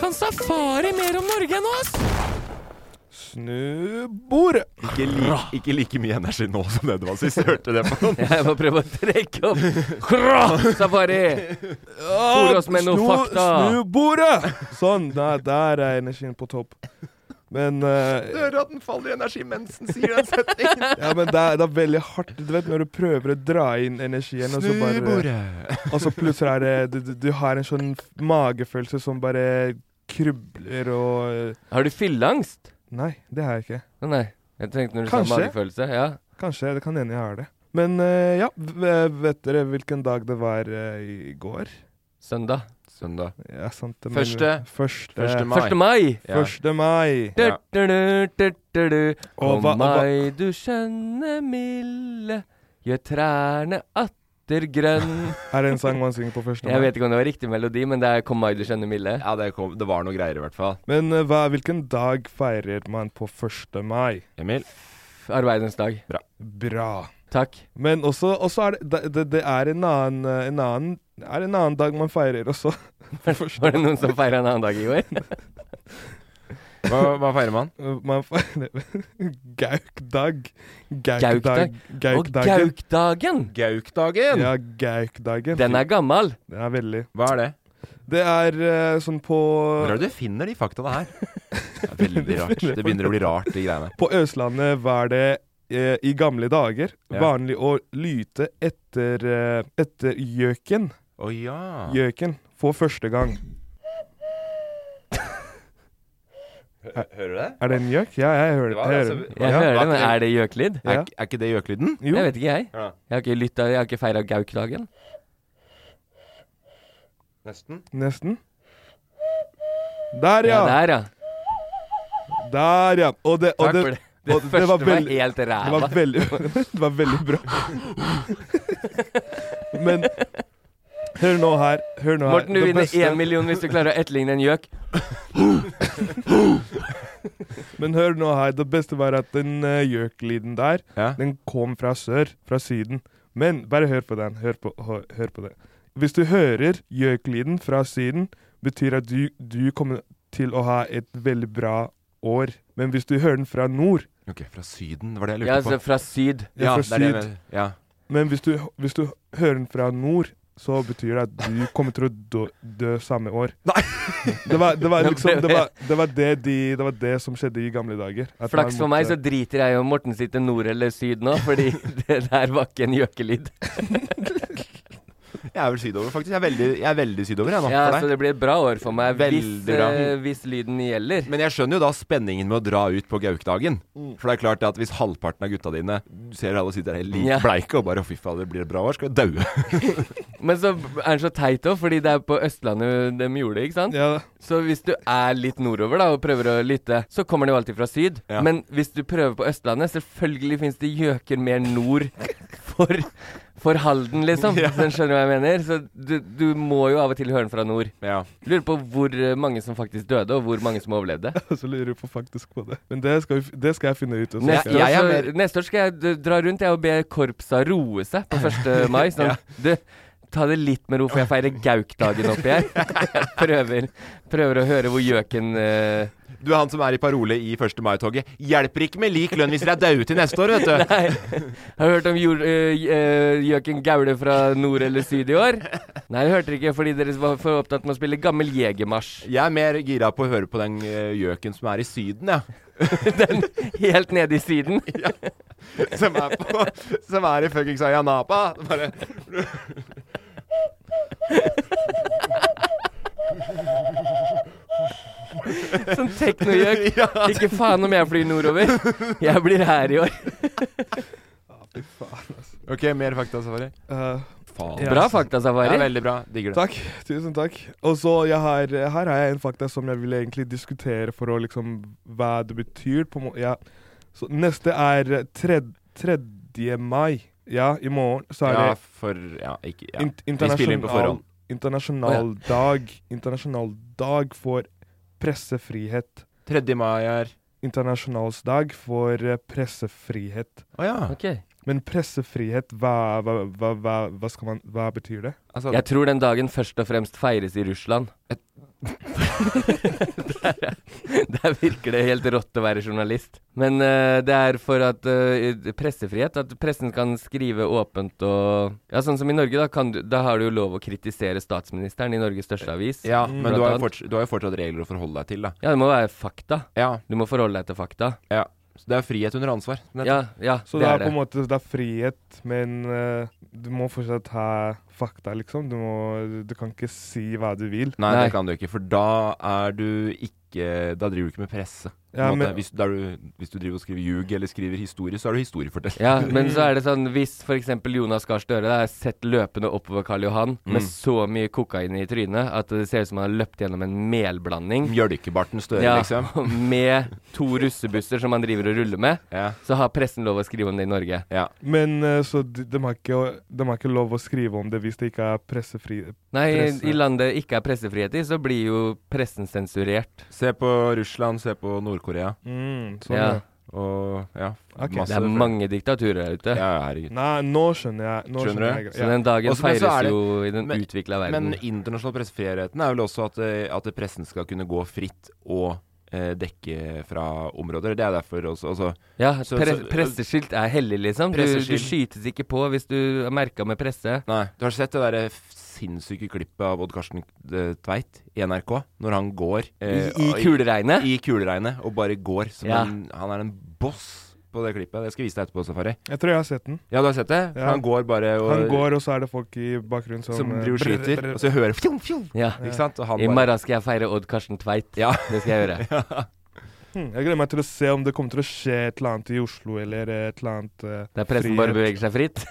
C: Kan safari mer om Norge enn oss?
D: Snu bordet.
A: Ikke, li- ikke like mye energi nå som det det var sist. Jeg hørte det på noen.
C: Jeg må prøve å trekke opp Hurra, Safari! Fôr oss med noen
D: Snu-
C: fakta.
D: Snu bordet! Sånn. Der, der er energien på topp. Men eh,
A: Hører at den faller i energi mens den sier den setningen. [LAUGHS]
D: Ja, men det er, det er veldig hardt. Du vet når du prøver å dra inn energien, og så bare Og så plutselig er det du, du, du har en sånn magefølelse som bare krubler og eh,
C: Har du fylleangst?
D: Nei, det har jeg ikke.
C: Å nei. Jeg tenkte når du sa
D: Kanskje.
C: magefølelse. Ja.
D: Kanskje. Det kan hende jeg har det. Men eh, ja, v- vet dere hvilken dag det var eh, i går?
C: Søndag.
A: Søndag.
D: Ja, sant det, men-
A: Første.
D: Første.
A: Eh, Første mai.
C: 1. mai.
A: Ja.
D: Første mai.
C: Du,
A: Ja.
C: du, du, du, du, du.
D: Og
C: Og
D: hva- og hva-
C: mai, du skjønne milde, gjør trærne atter grønn.
D: Er det en sang man synger på første mai?
C: Jeg vet ikke om det var riktig melodi, men det er Kom mai, du skjønne milde.
A: Ja, det, kom, det var noe greier, i hvert fall.
D: Men eh, hva, hvilken dag feirer man på første mai?
A: Emil?
C: Arbeidens dag.
D: Bra. [LAUGHS]
C: Takk.
D: Men også, også er det, det- det, det er en annen, eh, en annen er en annen dag man feirer også. [LAUGHS]
C: Var det noen som feira en annen dag i går?
A: Hva, hva feirer man?
D: Eh, Man feirer [LAUGHS] Gaukdag.
C: Gaukdag?
D: Gaukdag.
C: Og
D: Gaukdagen.
C: Gaukdagen!
A: Gaukdagen.
D: Ja, gaukdagen.
C: Den er gammel.
D: Den er veldig
A: Hva er det?
D: Det er eh, sånn på
A: Hvor er det du finner de faktaene
D: [LAUGHS]
A: her? Det er veldig [LAUGHS] rart. Det begynner å bli rart, de greiene.
D: På Østlandet var det eh, i gamle dager
A: Ja.
D: vanlig å lyte etter, eh, etter gjøken.
A: Å ja.
D: Gjøken for første gang.
A: Hører du det?
D: Er det en gjøk? Ja, jeg hører
A: Ja,
D: jeg
A: altså,
D: hører den.
C: Jeg
A: Ja.
C: hører det, men
A: Ja.
C: er det gjøklyd?
A: Er,
D: Ja.
A: ikke- er ikke det gjøklyden?
D: Jo.
C: Jeg vet ikke, jeg.
A: Ja.
C: Jeg har ikke lytta, jeg har ikke feira Gaukdagen.
A: Nesten.
D: Nesten. Der, ja!
C: Ja, der, ja.
D: Der, ja. Og det, og
C: Takk
D: det,
C: for det. Det
D: og det
C: første
D: var
C: var,
D: veldig-
C: helt
D: det,
C: ræva.
D: var veldig, [LAUGHS] det var veldig
A: [LAUGHS]
D: bra. Men Hør nå her. Hør nå her.
C: Morten, du
D: Det
C: vinner
D: beste-
C: én million hvis du klarer å etterligne en gjøk.
D: Men hør nå her, det beste var at den eh, gjøklyden der,
A: Ja.
D: den kom fra sør, fra syden. Men bare hør på den, hør på, hør, hør på det. Hvis du hører gjøklyden fra syden, betyr at du, du kommer til å ha et veldig bra år. Men hvis du hører den fra nord,
A: Ok, fra Syden, det var det jeg lurte
C: Ja, altså
A: på.
C: fra syd.
D: ja,
A: det er det
D: fra
A: jeg
D: syd,
A: mener. Ja.
D: men hvis du, hvis du hører den fra nord, så betyr det at du kommer til å dø, dø samme år.
A: Nei.
D: Det var, det var
C: Nå
D: liksom, det
C: ble
D: var, det var det de, det var det som skjedde i gamle dager. At
C: Flaks
D: man
C: for meg, så
D: måtte-
C: driter jeg i om Morten sitter nord eller syd nå, fordi [LAUGHS] det der var ikke en gjøkelyd.
A: Jeg er vel sydover, faktisk. Jeg er veldig, jeg er veldig sydover, jeg nå.
C: Ja,
A: for
C: så
A: deg.
C: det blir et bra år for meg hvis,
A: Veldig bra.
C: eh, hvis lyden gjelder.
A: Men jeg skjønner jo da spenningen med å dra ut på Gaukdagen.
C: Mm.
A: For det er klart at hvis halvparten av gutta dine du ser alle sitter her like
C: Ja.
A: bleike og bare 'Å, fy fader, blir det bra år?' skal jeg daue. [LAUGHS]
C: Men så er den så teit òg, fordi det er på Østlandet de gjorde det, ikke sant?
D: Ja,
C: Så hvis du er litt nordover da og prøver å lytte, så kommer den jo alltid fra syd.
A: Ja.
C: Men hvis du prøver på Østlandet, selvfølgelig fins det gjøker mer nord for, for
A: [LAUGHS]
C: Halden, liksom. Så skjønner du hva jeg mener? Så du, du må jo av og til høre den fra nord.
A: Ja.
C: Lurer på hvor eh, mange som faktisk døde, og hvor mange som overlevde.
D: Og [LAUGHS] så lurer jeg på faktisk på det. Men det skal, vi- det skal jeg finne ut. og så
C: Neste,
D: skal jeg-
A: jeg er
C: altså, neste år skal jeg d- dra rundt jeg og be korpsa roe seg på 1. mai. Sånn, du, ta det litt med ro, for jeg feirer Gaukdagen oppi her. Jeg prøver, prøver å høre hvor gjøken eh,
A: Du er han som er i parole i 1. mai-toget. Hjelper ikke med lik lønn hvis dere er daue til neste år, vet du.
C: [LAUGHS] Nei. Har du hørt om jord, eh, eh, gjøken Gaule fra nord eller syd i år? Nei, det hørte dere ikke, fordi dere var for opptatt med å spille gammel jegermarsj.
A: Jeg er mer gira på å høre på den eh, gjøken som er i Syden, jeg.
C: Den helt nede i Syden.
A: [LAUGHS] Som er, på, som er i fuckings Ayanapa. Bare
C: Sånn teknogjøk.
A: Ja.
C: Ikke faen om jeg flyr nordover. Jeg blir her i år.
A: OK, mer fakta, Safari.
D: Eh,
A: Faen.
D: Ja.
C: Bra
A: Ja,
C: faktasafari.
A: veldig bra. Digger det.
D: Takk. Tusen takk. Og så jeg har, her har jeg en fakta som jeg ville egentlig diskutere for å liksom hva det betyr. På må ja. Så neste er tred 3. mai. Ja, i morgen så er
A: Ja,
D: det
A: for Ja, ikke ja.
D: in
A: Vi spiller inn på
D: internasjonal,
A: forhånd.
D: internasjonal dag. Internasjonal dag for pressefrihet.
A: 3. mai er
D: Internasjonalsdag for eh, pressefrihet.
A: Å ja.
C: Ok.
D: Men pressefrihet, hva, hva, hva, hva, hva, skal man, hva betyr det?
A: Altså,
C: Jeg tror den dagen først og fremst feires i Russland. [LAUGHS] der, der virker det helt rått å være journalist. Men eh, det er for at eh, pressefrihet, at pressen kan skrive åpent og Ja, sånn som i Norge, da, kan du, da har du jo lov å kritisere statsministeren i Norges største avis.
A: ja, men
C: blant
A: du har, jo
C: annet.
A: fortsatt, du har jo fortsatt regler å forholde deg til, da.
C: Ja, det må være fakta.
A: Ja.
C: Du må forholde deg til fakta.
A: ja. Så det er frihet under ansvar. Men-
C: Ja, ja,
D: Så
C: det
D: det,
C: er
D: er på en
C: det.
D: måte det er frihet, men eh, du må fortsatt ha fakta, liksom. Du, må, du kan ikke si hva du vil.
A: Nei,
C: Nei.
A: det kan du ikke, for da er du ikke Da driver du ikke med presse. på en
D: Ja,
A: måte.
D: men-
A: hvis, da er du, hvis du driver og skriver ljug eller skriver historie, så er du historieforteller.
C: Ja, men så er det sånn hvis f.eks. Jonas Gahr Støre da er sett løpende oppover Karl Johan
A: Mm.
C: med så mye kokain i trynet at det ser ut som han har løpt gjennom en melblanding
A: [LAUGHS] Mjølkebarten Støre,
C: ja,
A: liksom.
C: med to russebusser som han driver og ruller med,
A: Ja.
C: så har pressen lov å skrive om det i Norge.
A: ja.
D: Men eh, så de, de, har ikke, de har ikke lov å skrive om det hvis det ikke er pressefri...
C: Nei,
D: Presse.
C: i land det ikke er pressefrihet i, så blir jo pressen sensurert.
A: Se på Russland, se på Nord-Korea
D: Mm, sånn,
C: ja.
D: ja.
A: og ja,
D: Ok.
C: Det er mange diktaturer der ute.
A: Ja, herregud.
D: Nei, nå skjønner jeg. Nå
A: Skjønner
D: skjønner
A: du?
D: jeg.
C: Så den dagen
A: Også- men så
C: feires
A: er det-
C: jo i den
A: men-
C: utvikla verden.
A: Men internasjonal pressefriheten er vel også at, eh, at pressen skal kunne gå fritt og eh, dekke fra områder. Det er derfor også altså,
C: ja,
A: så-
C: pre
A: så-
C: presseskilt er hellig, liksom. Du, du
A: Presseskilt.
C: skytes ikke på hvis du er merka med presse.
A: Nei. Du har sett det derre f- sinnssyke klippet av Odd Karsten eh, Tveit i NRK? Når han går eh,
C: I, i kuleregnet.
A: i kuleregnet og bare går som
C: Ja.
A: en Han er en boss på det klippet. Det skal jeg vise deg etterpå, Safari.
D: Jeg tror jeg har sett den.
A: Ja, du har sett det?
D: Ja.
A: Han går bare og
D: Han går, og så er det folk i bakgrunnen som,
A: som
D: eh,
A: driver og
D: brr,
A: skyter,
D: brr,
A: og så hører fjom, fjom,
C: Ja.
A: Ikke sant? Og han
C: I
A: bare [LAUGHS]
C: morgen skal jeg feire Odd Karsten Tveit.
A: Ja.
C: Det skal jeg gjøre.
D: brr. Hmm. Jeg gleder meg til å se om det kommer til å skje et eller annet i Oslo, eller et eller annet eh,
C: Der pressen bare beveger seg fritt.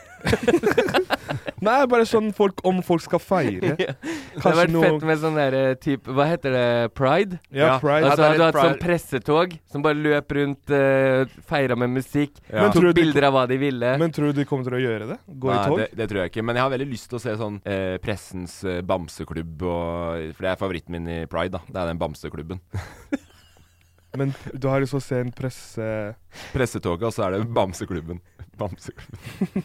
D: Nei, bare sånn folk, om folk skal feire.
C: [LAUGHS] Det hadde
D: Kanskje
C: vært
D: noe
C: fett med sånn der eh, type Hva heter det? Pride?
A: Ja,
D: Ja, pride.
C: Altså
A: det er
C: hadde du
A: litt
C: hatt sånn
A: pride.
C: pressetog som bare løp rundt, eh, feira med musikk,
A: Ja.
D: Men
C: tok
D: tror du-
C: bilder av hva de ville.
D: Men tror du de kommer til å gjøre det? Gå i
A: Nei,
D: tog?
A: det, det tror jeg ikke. Men jeg har veldig lyst til å se sånn eh, pressens eh, bamseklubb og For det er favoritten min i Pride, da. Det er den bamseklubben.
D: Men du har lyst til å se en presse Det
A: Pressetoget, og så er det bamseklubben. Bamseklubben.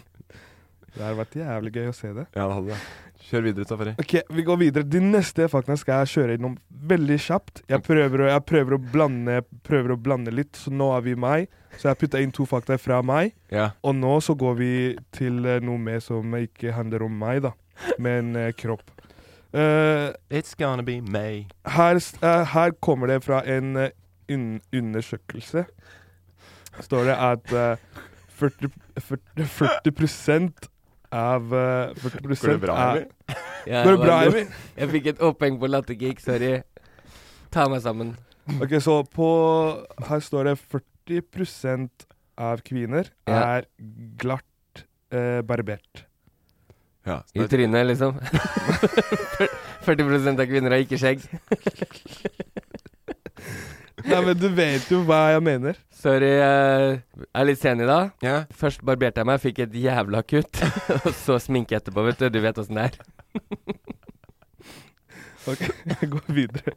D: hadde vært jævlig gøy å se det.
A: Ja, det hadde det. Kjør videre, Safari.
D: Ok, vi går videre. De neste faktaene skal jeg kjøre innom veldig kjapt. Jeg prøver, å, jeg prøver, å, blande, prøver å blande litt, så nå er vi i meg. Så jeg putta inn to fakta fra meg.
A: Ja.
D: Og nå så går vi til eh, noe mer som ikke handler om meg, da, men eh, kropp. Eh,
A: It's gonna be May.
D: her, s- eh, her kommer det fra en eh, un undersøkelse. Står det at eh, 40, 40, 40 av eh, 40
A: Går det bra,
D: er-
A: eller?
C: Ja,
D: Går det
C: var
D: bra,
C: lov.
D: Emil?
C: Jeg fikk et oppheng på latterkick, sorry. Ta meg sammen.
D: Ok, så på Her står det 40 av kvinner
C: Ja.
D: er glatt eh, barbert.
A: Ja.
C: I trynet, liksom. [LAUGHS] 40 av kvinner har ikke skjegg.
D: Nei, Nei, men du vet jo hva jeg mener.
C: Sorry, eh, jeg er litt sen i dag.
A: Ja.
C: Først barberte jeg meg, fikk et jævla kutt. [LAUGHS] Og så sminke etterpå, vet du. Du vet åssen det er.
D: Ok, jeg går videre.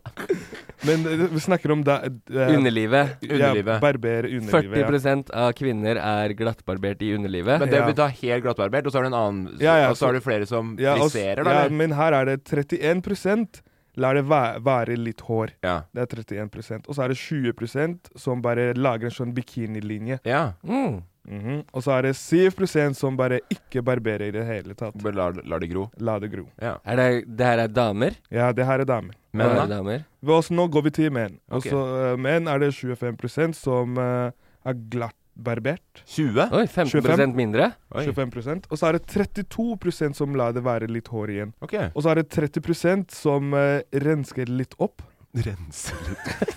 D: Men eh, vi snakker om deg eh,
C: Underlivet.
D: Ja,
A: Underlivet.
D: barber underlivet.
C: 40 av kvinner er glattbarbert i underlivet.
A: Men det
D: Ja.
A: vil da helt glattbarbert, og så har du en annen
D: Ja, ja,
A: Og så har du flere som
D: Ja, og s-
A: friserer, da?
D: ja,
A: eller?
D: men her er det 31 lar det væ- være litt hår.
A: Ja.
D: Det er 31 Og så er det 20 som bare lager en sånn bikinilinje.
A: ja.
C: Mm.
D: Mhm. Og så er det 7 som bare ikke barberer i det hele tatt.
A: Bare lar, lar det gro.
D: La det gro.
A: Ja.
C: Er det, det her er damer?
D: Ja, det her er damer.
A: Men
C: Bare
A: da?
C: damer.
D: Ved oss nå går vi til menn. Og
A: Ok.
D: så eh, menn er det 25 som eh, er glatt barbert.
A: 20?
C: Oi, 15
D: 25.
C: mindre?
A: Oi.
D: 25 Og så er det 32 som lar det være litt hår igjen.
A: OK.
D: Og så er det 30 som eh, rensker litt opp.
A: Rense litt.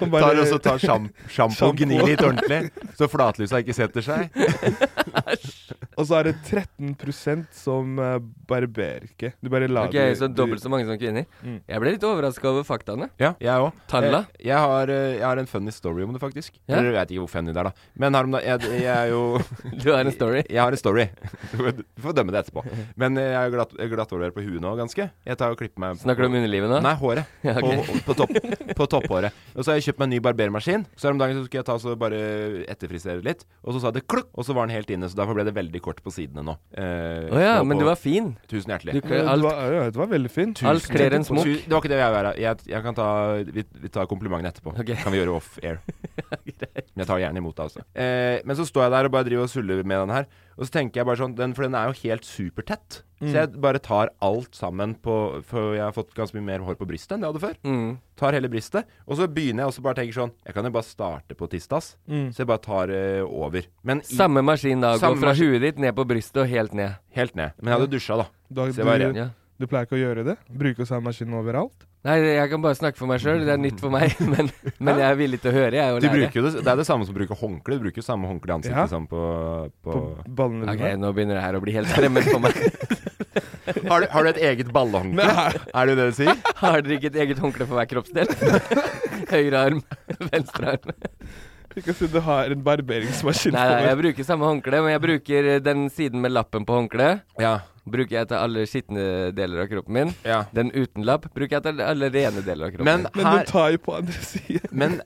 D: Som
A: Tar også tar
D: [LAUGHS]
A: sjam- sjampo
D: Sjampo.
A: og gnir litt ordentlig, så flatlysa ikke setter seg.
D: Og så er det 13 som eh, barberer ikke. Du bare lar
C: Ok, Så dobbelt så mange som kvinner.
D: Mm.
C: Jeg ble litt overraska over faktaene.
A: Ja, jeg òg.
C: Talla?
A: Jeg, jeg, har, eh, jeg har en funny story om det, faktisk.
C: Ja.
A: Eller jeg vet ikke hvor funny det er, da. Men her om da, jeg, jeg er jo
C: Du har en story.
A: Jeg har en story. [LAUGHS] Du får dømme det etterpå. [LAUGHS] Men eh, jeg er glatt, glattoverert på huet nå, ganske. Jeg tar og klipper meg
C: Snakker du om underlivet nå?
A: Nei, håret.
C: [LAUGHS] Ja, ok.
A: På, på, topp, på topphåret. Og så har jeg kjøpt meg en ny barbermaskin. Så her om dagen så skulle jeg ta så bare etterfrisere litt, og så sa det klukk, og så var den helt inne. Så derfor ble det veldig kort på sidene nå. Eh,
C: Å ja,
A: nå
C: men
A: på-
C: du var fin.
A: Tusen hjertelig.
C: Du,
D: Det
C: kler- alt,
D: var, ja, det var veldig fint.
C: alt kler en smokk.
A: Tu- Det var ikke det jeg ville være. Jeg, jeg kan ta, vi, vi tar komplimentene etterpå.
C: Ok.
A: Kan vi gjøre off [LAUGHS] air. Men jeg tar gjerne imot det, altså. Eh, men så står jeg der og bare driver og suller med den her. Og så tenker jeg bare sånn den, For den er jo helt supertett. Så jeg bare tar alt sammen på For jeg har fått ganske mye mer hår på brystet enn jeg hadde før.
C: Mm.
A: Tar hele bristet. Og så begynner jeg også bare å tenke sånn Jeg kan jo bare starte på tistas. Så jeg bare tar eh, over. Men i,
C: Samme maskin da. Gå
A: Samme
C: fra
A: maskin.
C: huet ditt ned på brystet og helt ned.
A: helt ned. Men jeg hadde dusja, da.
D: Du,
A: Så jeg var ren,
D: du,
C: Ja.
D: du pleier ikke å gjøre det? Bruke samme maskin overalt?
C: Nei, jeg kan bare snakke for meg sjøl. Det er nytt for meg. [LAUGHS] Men, men jeg er villig til å høre, jeg. Og
A: Du
C: lære.
A: bruker jo det, det er det samme som bruker håndkle. Du bruker jo samme håndkle i ansiktet
D: Ja.
A: som på, på,
D: På ballene
C: Ok,
D: dine?
C: nå begynner det her å bli helt fremmed for [LAUGHS] meg.
A: har, du, har du et eget ballehåndkle? Er det det du sier?
C: Har dere ikke et eget håndkle for hver kroppsdel? [LAUGHS] Høyre arm, venstre arm.
D: Ikke si du har en barberingsmaskin.
C: Nei, nei,
D: på
C: jeg bruker samme håndkle, men jeg bruker eh, den siden med lappen på håndkleet.
A: Ja.
C: Bruker jeg til alle skitne deler av kroppen min.
A: ja.
C: Den uten lapp bruker jeg til alle rene deler av kroppen
A: Men
C: min.
D: meg. Men
A: her
D: du tar jo på andre [LAUGHS] siden.
A: Men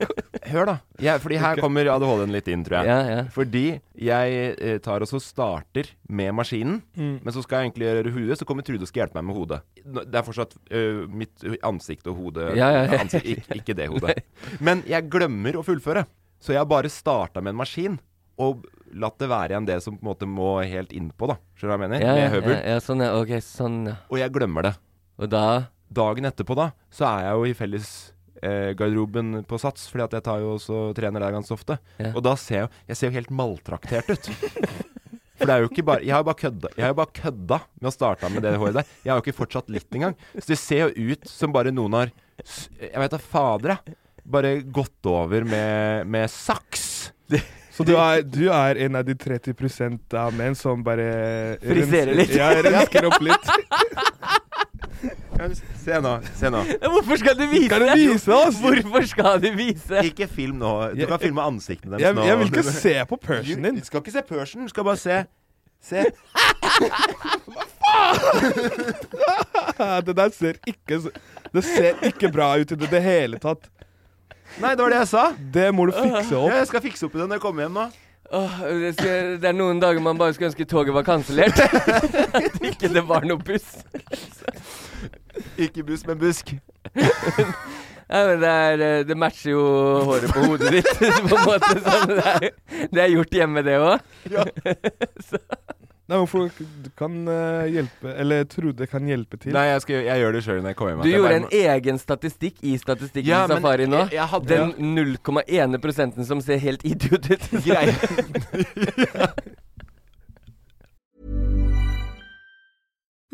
A: hør, da. Jeg, fordi her kommer ADHD-en litt inn, tror jeg.
C: Ja, ja.
A: Fordi jeg eh, tar og så starter med maskinen,
D: Mm.
A: men så skal jeg egentlig gjøre huet, så kommer Trude og skal hjelpe meg med hodet. Nå- Det er fortsatt ø, mitt ansikt og hodet
C: Ja, ja, ja.
A: Ansikt, ikke, ikke det
C: [LAUGHS]
A: hodet. Men jeg glemmer å fullføre. Så jeg har bare starta med en maskin, og latt det være igjen det som på en måte må helt innpå, da. Skjønner du hva jeg mener?
C: Ja, ja,
A: med høvel.
C: ja, ja, sånn, ja. Ok, sånn, ja.
A: Og jeg glemmer det.
C: Og da
A: Dagen etterpå, da, så er jeg jo i felles eh, garderoben på Sats, fordi at jeg tar jo også trener der ganske ofte.
C: Ja.
A: Og da ser jeg jo Jeg ser jo helt maltraktert ut. [LAUGHS] For det er jo ikke bare Jeg har jo bare kødda, jeg har jo bare kødda med å starte med det håret der. Jeg har jo ikke fortsatt litt engang. Så det ser jo ut som bare noen har s- Jeg vet da fader, jeg. Bare gått over med, med saks.
D: Så du er, du er en av de 30 av menn som bare
C: Friserer
D: rensker-
C: litt.
D: Ja, rensker opp litt.
A: Se nå. Se nå.
C: Hvorfor skal du vise?
D: Kan du vise oss?
C: Hvorfor skal du vise?
A: Ikke film nå. Du
D: Jeg-
A: kan filme ansiktene
D: Jeg,
A: deres nå.
D: jeg vil ikke se på persen din.
A: Du skal ikke se Persen, du skal bare se. Se.
D: Ja, Det der ser ikke, så- det ser ikke bra ut i det, det hele tatt.
A: Nei, det var det jeg sa.
D: Det må du fikse opp.
A: Ja, jeg skal fikse opp i det når jeg kommer hjem nå.
C: Åh, det, skal, det er noen dager man bare skulle ønske toget var [LAUGHS] kansellert. At ikke det var noe buss.
A: Ikke buss, men busk.
C: Ja, men det, er, eh, det matcher jo håret på hodet ditt, [LAUGHS] på en måte. Sånn, det, er, det er gjort hjemme, det òg.
D: Nei, men folk du kan eh, hjelpe Eller Trude kan hjelpe til.
A: Nei, jeg, skal, gjø- jeg gjør det sjøl når jeg kommer hjem.
C: Du
A: at jeg
C: gjorde
A: bare
C: en
A: må-
C: egen statistikk i statistikken
A: Ja,
C: i
A: men
C: Safari nå.
A: jeg- jeg hadde-
C: Den 0,1 prosenten som ser helt idiot ut.
A: greie.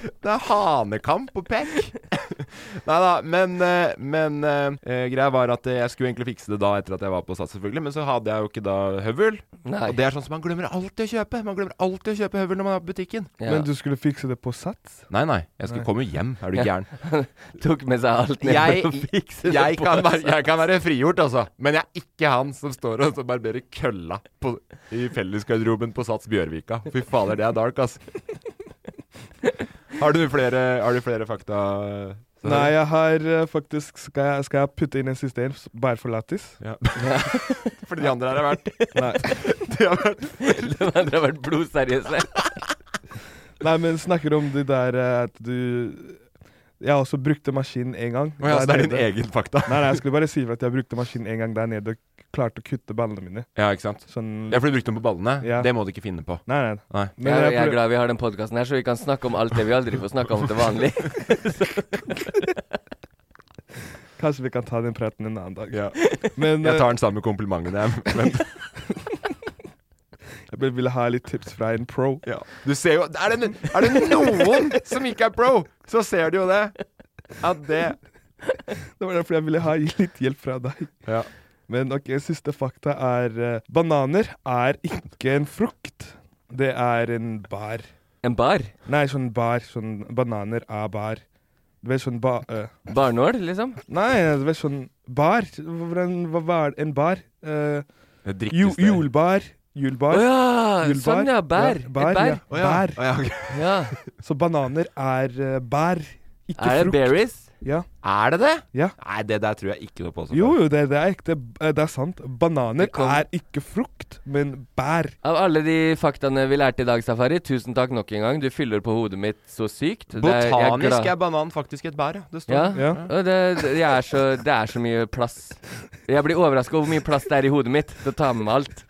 A: Det er hanekamp og pekk. Nei da, men, eh, men eh, greia var at eh, jeg skulle egentlig fikse det da etter at jeg var på Sats, selvfølgelig. Men så hadde jeg jo ikke da høvel.
C: Nei.
A: Og det er sånn som man glemmer alltid å kjøpe. Man glemmer alltid å kjøpe høvel når man er på butikken.
C: Ja.
D: Men du skulle fikse det på Sats?
A: Nei, nei. Jeg skulle komme hjem. Er du gæren?
E: [LAUGHS]
C: Tok med seg alt ned og
A: Jeg,
C: fikset
A: [LAUGHS] jeg,
C: det på
A: kan være,
C: seg.
A: jeg kan være frigjort, altså. Men jeg er ikke han som står og så barberer kølla på, i fellesgarderoben på Sats Bjørvika. Fy fader, det er dark, altså. Har du flere, har du flere fakta? Sverre?
D: Nei, jeg har eh, faktisk Skal jeg, skal jeg putte inn en siste en, s- bare for lættis?
A: Ja. Fordi de andre her har vært
D: Nei.
A: [LAUGHS] De har vært [LAUGHS]
C: De andre har vært blodseriøse.
D: Nei, men snakker om det der eh, at du Jeg også brukte maskin én gang.
A: Å ja, så
D: Der
A: det er din
D: nede.
A: egen fakta?
D: Nei, nei, jeg skulle bare si at jeg brukte maskin én gang der nede og k- klarte å kutte ballene mine.
A: Ja, ikke sant?
D: Sånn
A: Ja, for du brukte dem på ballene?
D: Ja.
A: Det må du ikke finne på.
D: Nei, nei.
A: Nei.
D: Men
C: Jeg,
D: jeg
C: jeg er
D: prøv-
C: glad vi har den podkasten her, så vi kan snakke om alt det vi aldri får snakke om til vanlig.
D: Kanskje vi kan ta den praten en annen dag.
A: Ja.
D: Men
A: Jeg
D: eh,
A: tar den samme komplimenten, jeg. Men
D: eh, jeg bare ville ha litt tips fra en pro.
A: ja. du ser jo er det, er det noen som ikke er pro, så ser du jo det. At det
D: Det var derfor jeg ville ha litt hjelp fra deg.
A: Ja.
D: Men ok, siste fakta er eh, Bananer er ikke en frukt. Det er en bær.
C: En bar?
D: Nei, sånn bær. Sånn bananer er bær. Du vet sånn ba... eh,
C: Barnål, liksom?
D: nei, du vet sånn Bar? Hvordan, hva, hva er det? En bar? Eh,
A: Det
D: ju,
A: drikkes det.
D: julbar.
C: Å
D: Julbar.
C: ja!
D: Julbar.
C: Sånn, ja. Bær.
D: Ja,
C: Et
D: bær,
C: bær.
D: Ja. bær.
A: Å, ja, ok.
C: Ja.
D: Så bananer er eh, bær, ikke
C: Er det
D: frukt.
C: berries?
D: Ja.
A: Er det det?
D: Ja.
A: Nei, det der tror jeg ikke noe på. altså. så
D: Jo,
A: far.
D: jo, det, det er ekte. eh, Det er sant. Bananer
C: Det kom-
D: er ikke frukt, men bær.
C: Av alle de faktaene vi lærte i dag, Safari, tusen takk nok en gang. Du fyller på hodet mitt så sykt. Det er- jeg er glad-
A: Botanisk er banan faktisk et bær, ja. Det står.
C: Ja.
D: Ja.
C: Og det, det, jeg er så, det er så mye plass. Jeg blir overraska over hvor mye plass det er i hodet mitt til å ta med meg alt.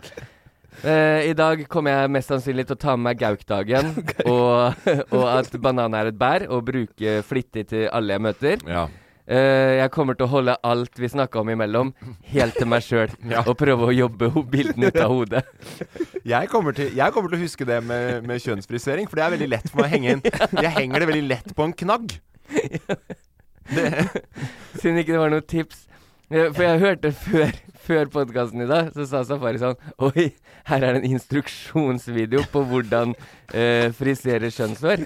C: Eh, I dag kommer jeg mest sannsynlig til å ta med meg Gaukdagen og, og at banan er et bær, og bruke flittig til alle jeg møter.
A: Ja.
C: Eh, jeg kommer til å holde alt vi snakka om imellom, helt til meg sjøl,
A: Ja.
C: og prøve å jobbe ho- bildene ut av hodet.
A: Jeg kommer, til, jeg kommer til å huske det med, med kjønnsfrisering, for det er veldig lett for meg å henge inn. Jeg henger det veldig lett på en knagg.
C: Siden ikke det var noe tips. Eh, For jeg hørte før, før podkasten i dag, så sa Safari sånn Oi, her er det en instruksjonsvideo på hvordan eh, frisere kjønnshår.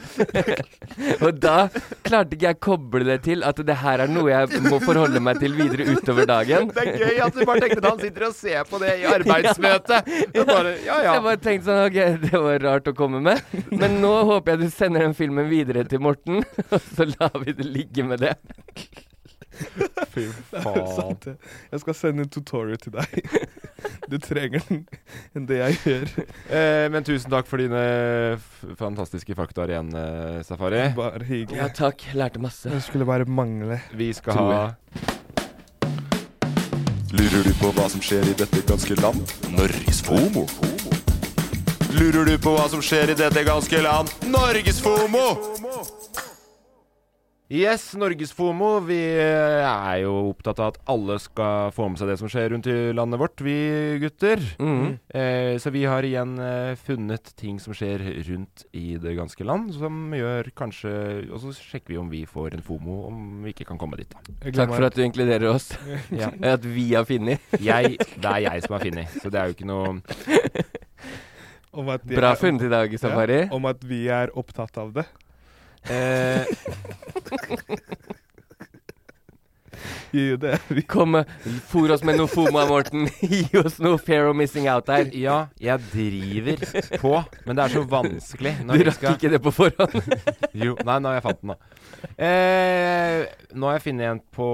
C: [LAUGHS] og da klarte ikke jeg å koble det til at det her er noe jeg må forholde meg til videre utover dagen.
A: Det er gøy at du bare tenkte at han sitter og ser på det i arbeidsmøtet. Det er bare, ja, ja.
C: Jeg bare tenkte sånn Ok, [LAUGHS] det var rart å komme med. Men nå håper jeg du sender den filmen videre til Morten, [LAUGHS] og så lar vi det ligge med det.
A: Fy
D: [LAUGHS]
A: faen.
D: Sant det. Jeg skal sende en tutorial til deg. [LAUGHS] Du trenger den enn det jeg gjør.
A: Eh, men tusen takk for dine f fantastiske fakta igjen, eh, Safari.
D: Bare
C: Ja
D: hyggelig.
C: takk, lærte masse.
D: Det skulle bare mangle.
A: Vi skal
C: Tror
A: ha
C: jeg.
B: Lurer du på hva som skjer i dette ganske land? Norges FOMO. Lurer du på hva som skjer i dette ganske land? Norges FOMO!
A: Yes, Norgesfomo. Vi eh, er jo opptatt av at alle skal få med seg det som skjer rundt i landet vårt, vi gutter.
C: Mhm.
A: Eh, så vi har igjen eh, funnet ting som skjer rundt i det ganske land, som gjør kanskje Og så sjekker vi om vi får en fomo, om vi ikke kan komme dit, da.
D: Jeg
C: Takk
D: glemmer
C: for at du inkluderer oss.
A: Ja.
C: At vi har funnet.
A: [LAUGHS] Jeg, det er jeg som har funnet, så det er jo ikke noe
D: om at jeg-
C: Bra funnet i dag, Safari.
D: Ja, om at vi er opptatt av det.
A: eh,
D: Jo, det er vi.
C: Kom, eh, fôr oss med noe FOMA, Morten. [LAUGHS] Gi oss noe fair of missing out her.
A: Ja, jeg driver på, men det er så
C: [LAUGHS]
A: vanskelig
C: Du
A: når vi
C: rakk
A: skal
C: ikke det på forhånd.
A: Jo, nei, nå har jeg fant den, da. Eh, nå har jeg funnet en på,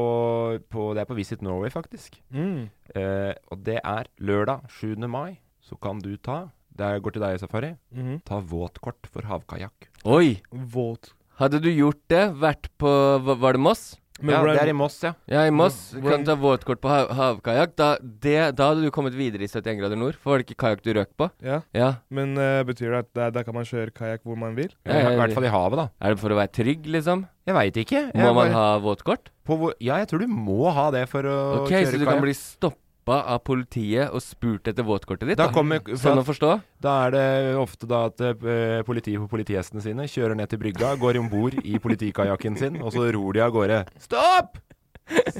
A: på Det er på Visit Norway, faktisk.
C: Mm,
A: Eh, og det er lørdag 7. mai. Så kan du ta Det her går til deg, Safari.
C: mm-hmm.
D: Mhm.
A: Ta våtkort for havkajakk.
C: [LAUGHS] Oi!
D: Våt.
C: Hadde du gjort det, vært på hva- Var det Moss?
D: Men
A: Ja,
D: hvordan-
A: det er i Moss, ja.
C: Ja, i Moss.
D: Hvor-
C: Kan ta våtkort på hav havkajakk. Da, det- da hadde du kommet videre i 71 grader nord. For var det ikke kajakk du røk på?
D: ja.
C: Ja.
D: Men eh, betyr det at der, der kan man kjøre kajakk hvor man vil?
A: I hvert fall i havet, da.
C: Er det for å være trygg, liksom?
A: Jeg veit ikke. Jeg
C: Må man
A: bare-
C: ha våtkort?
A: på hvor, Ja, jeg tror du må ha det for å
C: Ok,
A: kjøre
C: så du
A: kajakk.
C: kan bli stoppa av politiet og spurt etter våtkortet ditt?
A: Da
C: da.
A: kommer-
C: Sånn å forstå?
A: Da er det ofte da at eh, politiet og politihestene sine kjører ned til brygga, går om bord i politikajakken sin, og så ror de av gårde. Stopp!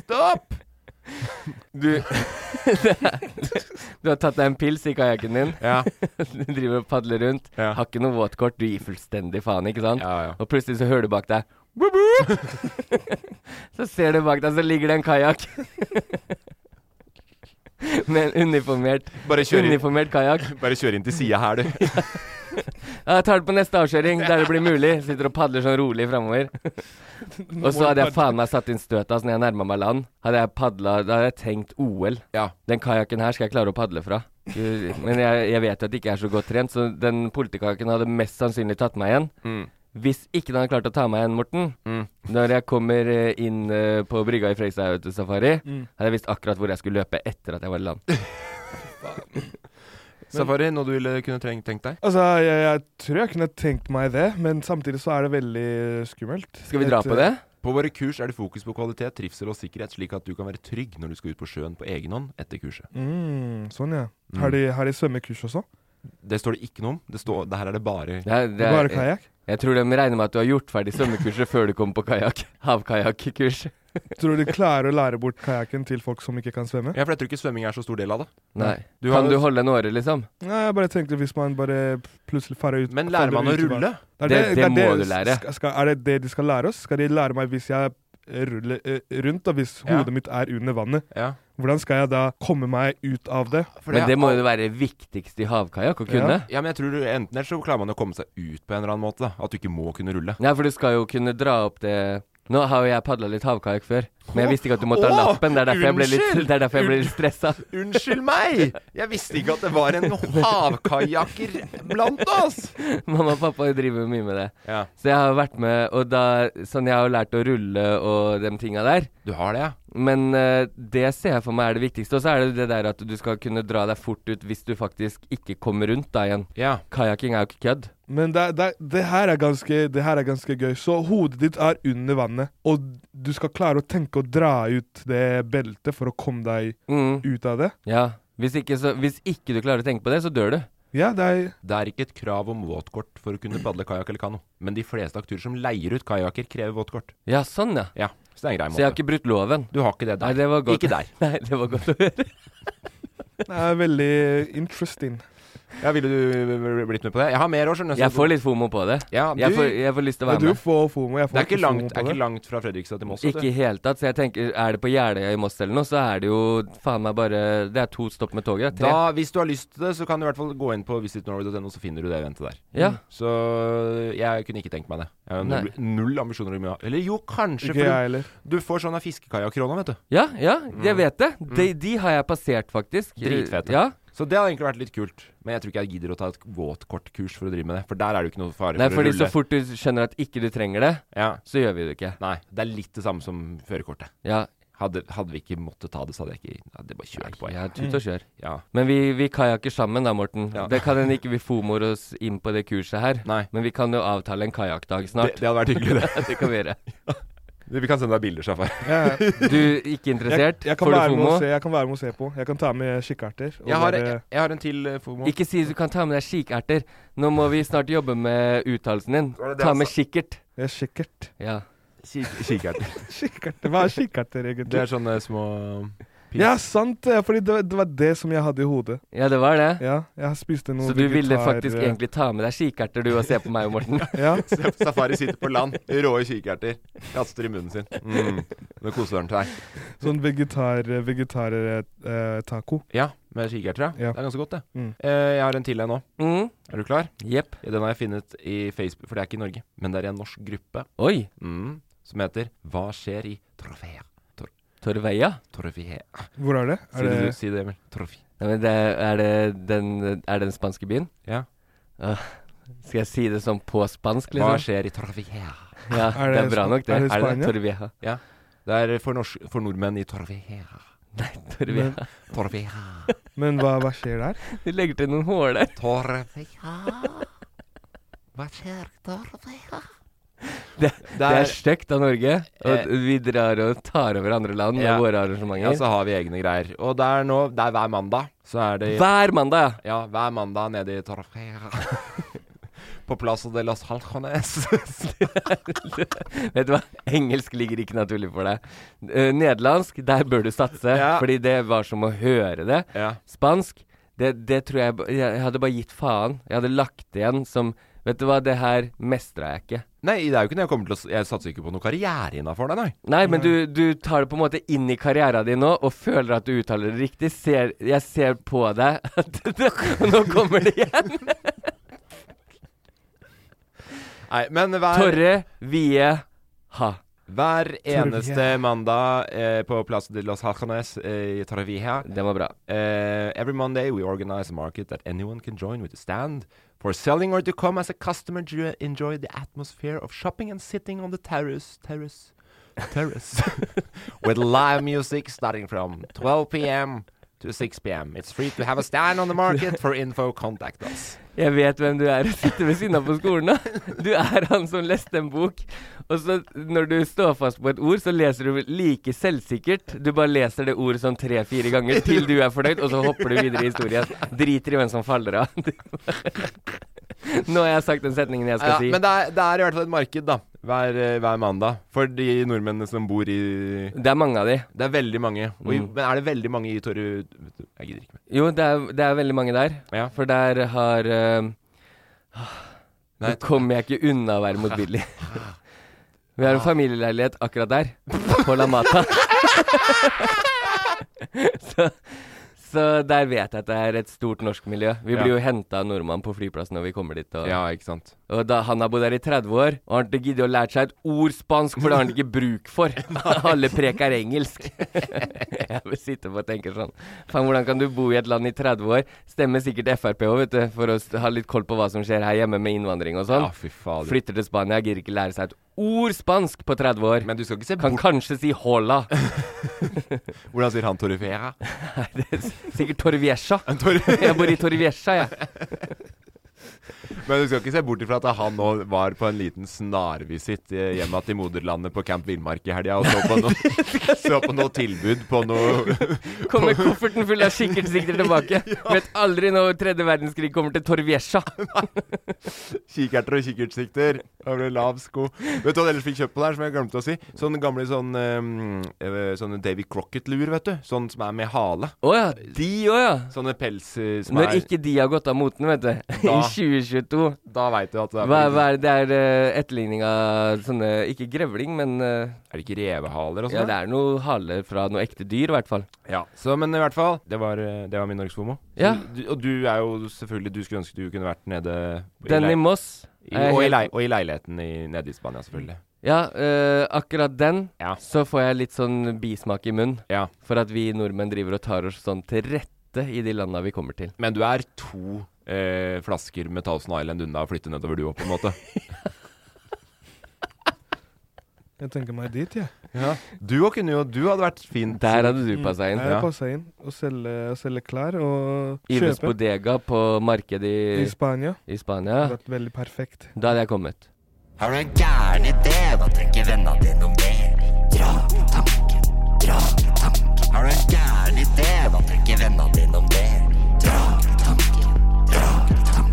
A: Stopp!
C: [LAUGHS] Du [LAUGHS] Du har tatt deg en pils i kajakken din.
A: Ja.
C: Du [LAUGHS] driver og padler rundt.
A: [LAUGHS] Ja.
C: Har ikke noe våtkort. Du gir fullstendig faen, ikke sant?
A: Ja, ja.
C: Og plutselig så hører du bak deg «Bup, bup!» [LAUGHS] Så ser du bak deg, så ligger det en kajakk. [LAUGHS] Med en uniformert,
A: Bare kjør inn,
C: uniformert kajakk.
A: bare kjør inn til sida her, du.
C: Ja, Jeg tar det på neste avkjøring, der det blir mulig. Sitter og padler sånn rolig framover. Og så hadde jeg faen meg satt inn støtet altså, når jeg nærma meg land. Hadde jeg padla Da hadde jeg tenkt OL.
A: Ja.
C: Den kajakken her skal jeg klare å padle fra. Gud, Men jeg, jeg vet jo at jeg ikke er så godt trent, så den politikajakken hadde mest sannsynlig tatt meg igjen. Hvis ikke den hadde klart å ta meg igjen, Morten, når jeg kommer eh, inn eh, på brygga i Fredrikstad til safari, hadde jeg visst akkurat hvor jeg skulle løpe etter at jeg var i land.
A: [LAUGHS] Safari, noe du ville kunne treng- tenkt deg?
D: Altså, jeg, jeg tror jeg kunne tenkt meg det, men samtidig så er det veldig skummelt.
C: Skal vi dra
D: Et,
C: på det?
A: På våre kurs er det fokus på kvalitet, trivsel og sikkerhet, slik at du kan være trygg når du skal ut på sjøen på egen hånd etter kurset.
D: Mm, sånn, ja. Har, de, har de svømmekurs også?
A: Det står det ikke noe om. Det står, det her er det bare
C: Det er- det er-
D: Bare kajakk?
C: Jeg tror de regner med at du har gjort ferdig svømmekurset før du kom på kajakk. Havkajakkurs.
D: Tror du de klarer å lære bort kajakken til folk som ikke kan svømme?
A: Ja, for jeg tror ikke svømming er så stor del av det.
C: Nei.
A: Du
C: kan
A: har-
C: du holde en åre, liksom?
D: Nei, jeg bare tenkte hvis man bare plutselig farer ut
A: Men lærer man å
D: faller ut i vann.
A: rulle?
D: Er
C: Det- det
D: er
C: må du lære.
D: Skal, skal, er det det de skal lære oss? Skal de lære meg hvis jeg eh, ruller eh, rundt, og hvis
A: Ja.
D: hodet mitt er under vannet?
A: Ja.
D: Hvordan skal jeg da komme meg ut av det?
A: For
C: Men
A: er
C: det må
A: al-
C: jo være viktigst i havkajakk å kunne.
A: Ja, men jeg tror du- enten eller så klarer man å komme seg ut på en eller annen måte. da. At du ikke må kunne rulle.
C: Nei, for du skal jo kunne dra opp det Nå har jo jeg padla litt havkajakk før, men jeg visste ikke at du måtte ha
A: Åh,
C: lappen. Det er derfor jeg ble litt,
A: unnskyld!
C: [LAUGHS] det er derfor jeg ble litt stressa.
A: Unnskyld meg! Jeg visste ikke at det var en havkajakker blant oss!
C: [LAUGHS] Mamma og pappa driver mye med det.
A: [LAUGHS] Ja.
C: Så jeg har vært med, og da Sånn, jeg har jo lært å rulle og de tinga der.
A: Du har det, ja?
C: Men eh, det ser jeg for meg er det viktigste. Og så er det jo det der at du skal kunne dra deg fort ut hvis du faktisk ikke kommer rundt da igjen.
A: Ja.
C: Kajakking er jo ikke kødd.
D: Men det, det, det, her er ganske, det her er ganske gøy. Så hodet ditt er under vannet, og du skal klare å tenke å dra ut det beltet for å komme deg
C: Mm,
D: ut av det.
C: ja. Hvis ikke, så, hvis ikke du klarer å tenke på det, så dør du.
D: Ja, det er
A: Det er ikke et krav om våtkort for å kunne padle kajakk eller kano, men de fleste aktører som leier ut kajakker, krever våtkort.
C: Ja, sånn, ja.
A: Ja, så det er en grei måte.
C: Så jeg har ikke brutt loven.
A: Du har ikke det der.
C: Nei, det var godt.
A: Ikke der.
C: Nei, det var godt å høre.
D: Det er veldig interesting.
A: Ja, Ville du blitt med på det? Jeg har mer år, skjønner du. så-
C: Jeg får litt fomo på det.
A: Ja,
C: jeg,
A: du-
C: får, jeg får lyst til å
D: Ja,
C: være
D: du
C: med.
D: får FOMO, jeg får
A: Det er ikke langt,
D: FOMO
A: er
D: på
A: ikke
D: det.
A: langt fra Fredrikstad til Moss. vet
C: Ikke
A: du.
C: i hele tatt. Så jeg tenker, er det på Jeløya i Moss eller noe, så er det jo faen meg bare Det er to stopp med toget. det er Tre.
A: Da, hvis du har lyst til det, så kan du i hvert fall gå inn på visitnorway.no, så finner du det eventet der.
C: Ja.
A: Så jeg kunne ikke tenkt meg det. Jeg har null, null ambisjoner om å Eller jo, kanskje,
D: Ikke
A: for du,
D: jeg heller.
A: du får sånn av fiskekajakkrona, vet du.
C: Ja, ja, jeg vet det. De, de har jeg passert, faktisk.
A: Dritfete.
C: Ja.
A: Så det hadde egentlig vært litt kult. Men jeg tror ikke jeg gidder å ta et våtkortkurs for å drive med det. For der er det jo ikke noe fare
C: Nei,
A: for å
C: fordi så
A: rulle.
C: fort du skjønner at ikke du trenger det,
A: Ja.
C: så gjør vi det ikke.
A: Nei, det er litt det samme som førerkortet.
C: Ja.
A: Hadde, hadde vi ikke måttet ta det, så hadde jeg ikke hadde jeg bare kjørt på.
C: Ja,
A: Jeg.
C: tut og kjør.
A: Ja.
C: Men vi, vi kajakker sammen da, Morten.
A: Ja.
C: Det kan hende ikke vi fomoer oss inn på det kurset her.
A: Nei.
C: Men vi kan jo avtale en kajakkdag
A: Det,
C: snart.
A: det hadde vært hyggelig, det.
C: det kan vi gjøre.
A: Vi kan sende deg bilder, Shafar.
C: Du, ikke interessert?
D: Jeg kan,
C: Får du
D: være med
C: fomo?
D: og se, jeg kan være med og se på. Jeg kan ta med kikkerter. og
A: Jeg har,
D: bare-
A: jeg, jeg har en til, eh, FOMO.
C: Ikke si du kan ta med deg kikerter. Nå må vi snart jobbe med uttalelsen din.
A: Var det det
C: Ta
A: han
C: med
A: sa?
D: altså?
C: kikkert.
D: Ja, kikkert.
C: Ja.
A: Kik- Kikkert.
D: Kikkerter. Hva er kikkerter, egentlig?
A: [LAUGHS] Det er sånne små
D: Ja, sant det! Fordi det, var- det var det som jeg hadde i hodet.
C: ja, det var det.
D: Ja, jeg spiste noe
C: Så du ville
D: vegetar-
C: faktisk egentlig ta med deg kikerter du og se på meg og Morten?
D: [LAUGHS] Ja.
A: Safari sitter på land, rå kikerter. Kaster i munnen sin. Mm. Nå koser han seg.
D: Sånn vegetar, eh, vegetar-taco.
A: Ja, med kikerter, ja.
D: Ja.
A: Det er ganske godt, det.
D: Mm.
A: Eh, jeg har en til en nå.
C: Mm.
A: Er du klar?
C: Jepp.
A: Ja, Den har jeg funnet i Facebook, for det er ikke i Norge, men det er i en norsk gruppe
C: Oi.
A: mm, som heter Hva skjer i Trofea?
C: Torveia?
A: Trofea.
D: Hvor er det? Er
A: Si det, du,
D: det
A: si det Emil. Trofea.
C: Nei, men det, er, det den, er det den spanske byen?
A: Ja.
C: Øh, skal jeg si det sånn på spansk,
A: Hva
C: liksom?
A: skjer i Trofea?
C: Ja, det,
D: Er det
C: er bra
D: span-
C: nok, det.
D: er det Spania?
C: Torveia?
A: Ja. Det er for, norsk, for nordmenn i Trofea.
C: Nei, Torveia.
A: Trofea.
D: Men hva, hva skjer der?
C: De legger til noen hår der.
A: Trofea. Hva skjer i Trofea?
C: Det, det
A: er-
C: er stygt av Norge.
A: Eh.
C: Og vi drar og tar over andre land med
A: Ja.
C: våre
A: Ja,
C: arrangementer.
A: så har vi egne greier. Og det er nå Det er hver mandag. Så er det
C: Hver mandag, ja.
A: Ja, hver mandag nede i Torfea. [LAUGHS] På Plaza de los Halcones.
C: Vet du hva? Engelsk ligger ikke naturlig for deg. Eh, nederlandsk, der bør du satse.
A: Ja.
C: Fordi det var som å høre det.
A: ja.
C: Spansk, det, det tror jeg ba- Jeg jeg hadde bare gitt faen. Jeg hadde lagt igjen som Vet du hva, det her mestra jeg ikke.
A: [LAUGHS] Nei, det er jo ikke det jeg kommer til å s- Jeg satser ikke på noe karriere innafor det, nei.
C: Nei, men du, du tar det på en måte inn i karrieren din nå, og føler at du uttaler det riktig. Ser, jeg ser på deg at [LAUGHS] det, Nå kommer det igjen!
A: nei men hver,
C: Torre, vie, ha.
A: hver eneste mandag eh, på Plaza de los Halcones eh, i Torfea
C: Den var bra.
A: Uh, every Monday, we organize a market that anyone can join with a stand for selling or to come as a customer to enjoy the atmosphere of shopping and sitting on the terrace, terrace, [LAUGHS] terrace, with live music starting from 12 p.m. to 6 p.m. It's free to have a stand on the market. For info, contact us.
C: Jeg vet hvem du er og sitter ved siden av på skolen. da. [LAUGHS] Du er han som leste en bok, og så når du står fast på et ord, så leser du like selvsikkert. Du bare leser det ordet sånn tre-fire ganger til du er fornøyd, og så hopper du videre i historien. Driter i hvem som faller av. [LAUGHS] Du bare- Nå har jeg sagt den setningen jeg skal
A: Ja,
C: si.
A: men det er, det er i hvert fall et marked, da. Hver, eh, hver mandag. For de nordmennene som bor i
C: Det er mange av de.
A: Det er veldig mange. Og i, Men er det veldig mange i Torre Jeg gidder ikke mer.
C: Jo, det er, det er veldig mange der.
A: Ja.
C: For der har eh,
A: Nei,
C: Nå kommer jeg ikke unna å være
A: [LAUGHS]
C: motbydelig. Vi har en familieleilighet akkurat der, på La Mata. [LAUGHS] så, så der vet jeg at det er et stort norsk miljø. Vi
A: Ja.
C: blir jo henta av nordmann på flyplassen når vi kommer dit. Og,
A: Ja, ikke sant.
C: og da han har bodd her i 30 år, og har ikke giddet å lære seg et ord spansk, for det har han ikke
A: [LAUGHS]
C: bruk for. Alle prek er engelsk. [LAUGHS] jeg vil sitte og tenke sånn Faen, hvordan kan du bo i et land i 30 år? Stemmer sikkert Frp òg, vet du, for å s- ha litt koll på hva som skjer her hjemme med innvandring og sånn.
A: Ja, fy fader.
C: Flytter til Spania, gidder ikke lære seg et ord spansk på 30 år.
A: Men du skal ikke se
C: kan
A: bort
C: kanskje si
A: [LAUGHS]
C: hola.
A: Hvordan sier han Torifera?
C: Nei, [LAUGHS] det er s- Sikkert Torviesja.
A: Tor
C: Jeg bor i Torviesja, jeg.
A: Men du skal ikke se bort ifra at han nå var på en liten snarvisitt eh, hjemme til moderlandet på Camp Villmark i helga og så på [LAUGHS] noe, så på noe tilbud på noe
C: Kommer kofferten full av kikkertsikter
A: [LAUGHS]
C: tilbake. Vet aldri når tredje verdenskrig kommer til Torvjesja.
A: Kikerter og kikkertsikter. Da ble det lav sko. Vet du hva jeg ellers fikk kjøpt på der, som jeg glemte å si? Sånne gamle sånn ehm, eh, Sånne Davy Crocket-lur, vet du. Sånn som er med hale.
C: Å ja, de òg, ja.
A: Sånne pels eh, som
C: Når
A: er
C: ikke de har gått av moten, vet du. [LAUGHS] I
A: Da.
C: 2022.
A: Da veit du at det er
C: Hva, hva er det det er eh, etterligning av sånne Ikke grevling, men eh,
A: Er det ikke revehaler og
C: Ja,
A: sånn?
C: det er noe hale fra noe ekte dyr, i hvert fall.
A: Ja. Så, men i hvert fall, det var, eh, det var min norgesfomo.
C: Ja.
A: Du, og du er jo selvfølgelig Du skulle ønske du kunne vært nede i
C: Den
A: lei-
C: i Moss.
A: i-
C: er
A: og, i
C: helt-
A: lei, og i leiligheten i, nede i Spania, selvfølgelig.
C: Ja, eh, akkurat den.
A: Ja.
C: Så får jeg litt sånn bismak i munnen
A: ja.
C: for at vi nordmenn driver og tar oss sånn til rette i de landa vi kommer til.
A: Men du er to eh, flasker med Thousand Island unna å flytte nedover, du òg, på en måte.
C: [LAUGHS]
D: Jeg tenker meg dit, jeg.
A: Du òg kunne jo Du hadde vært fin.
C: Der hadde du passa inn.
D: Mm. Jeg
A: Ja.
D: passer inn og selger, selger klær og
C: Ives
D: kjøper
C: Bodega på markedet
D: i
C: i,
D: Spania.
C: i
D: Det
C: Spania.
D: har vært veldig perfekt.
C: Da hadde jeg kommet.
E: Har du en gæren idé? Hva tenker vennene dine om det? Dra på tanken, dra på tanken. Har du en gæren idé? Hva tenker vennene dine om det? Dra på tanken, dra på tanken.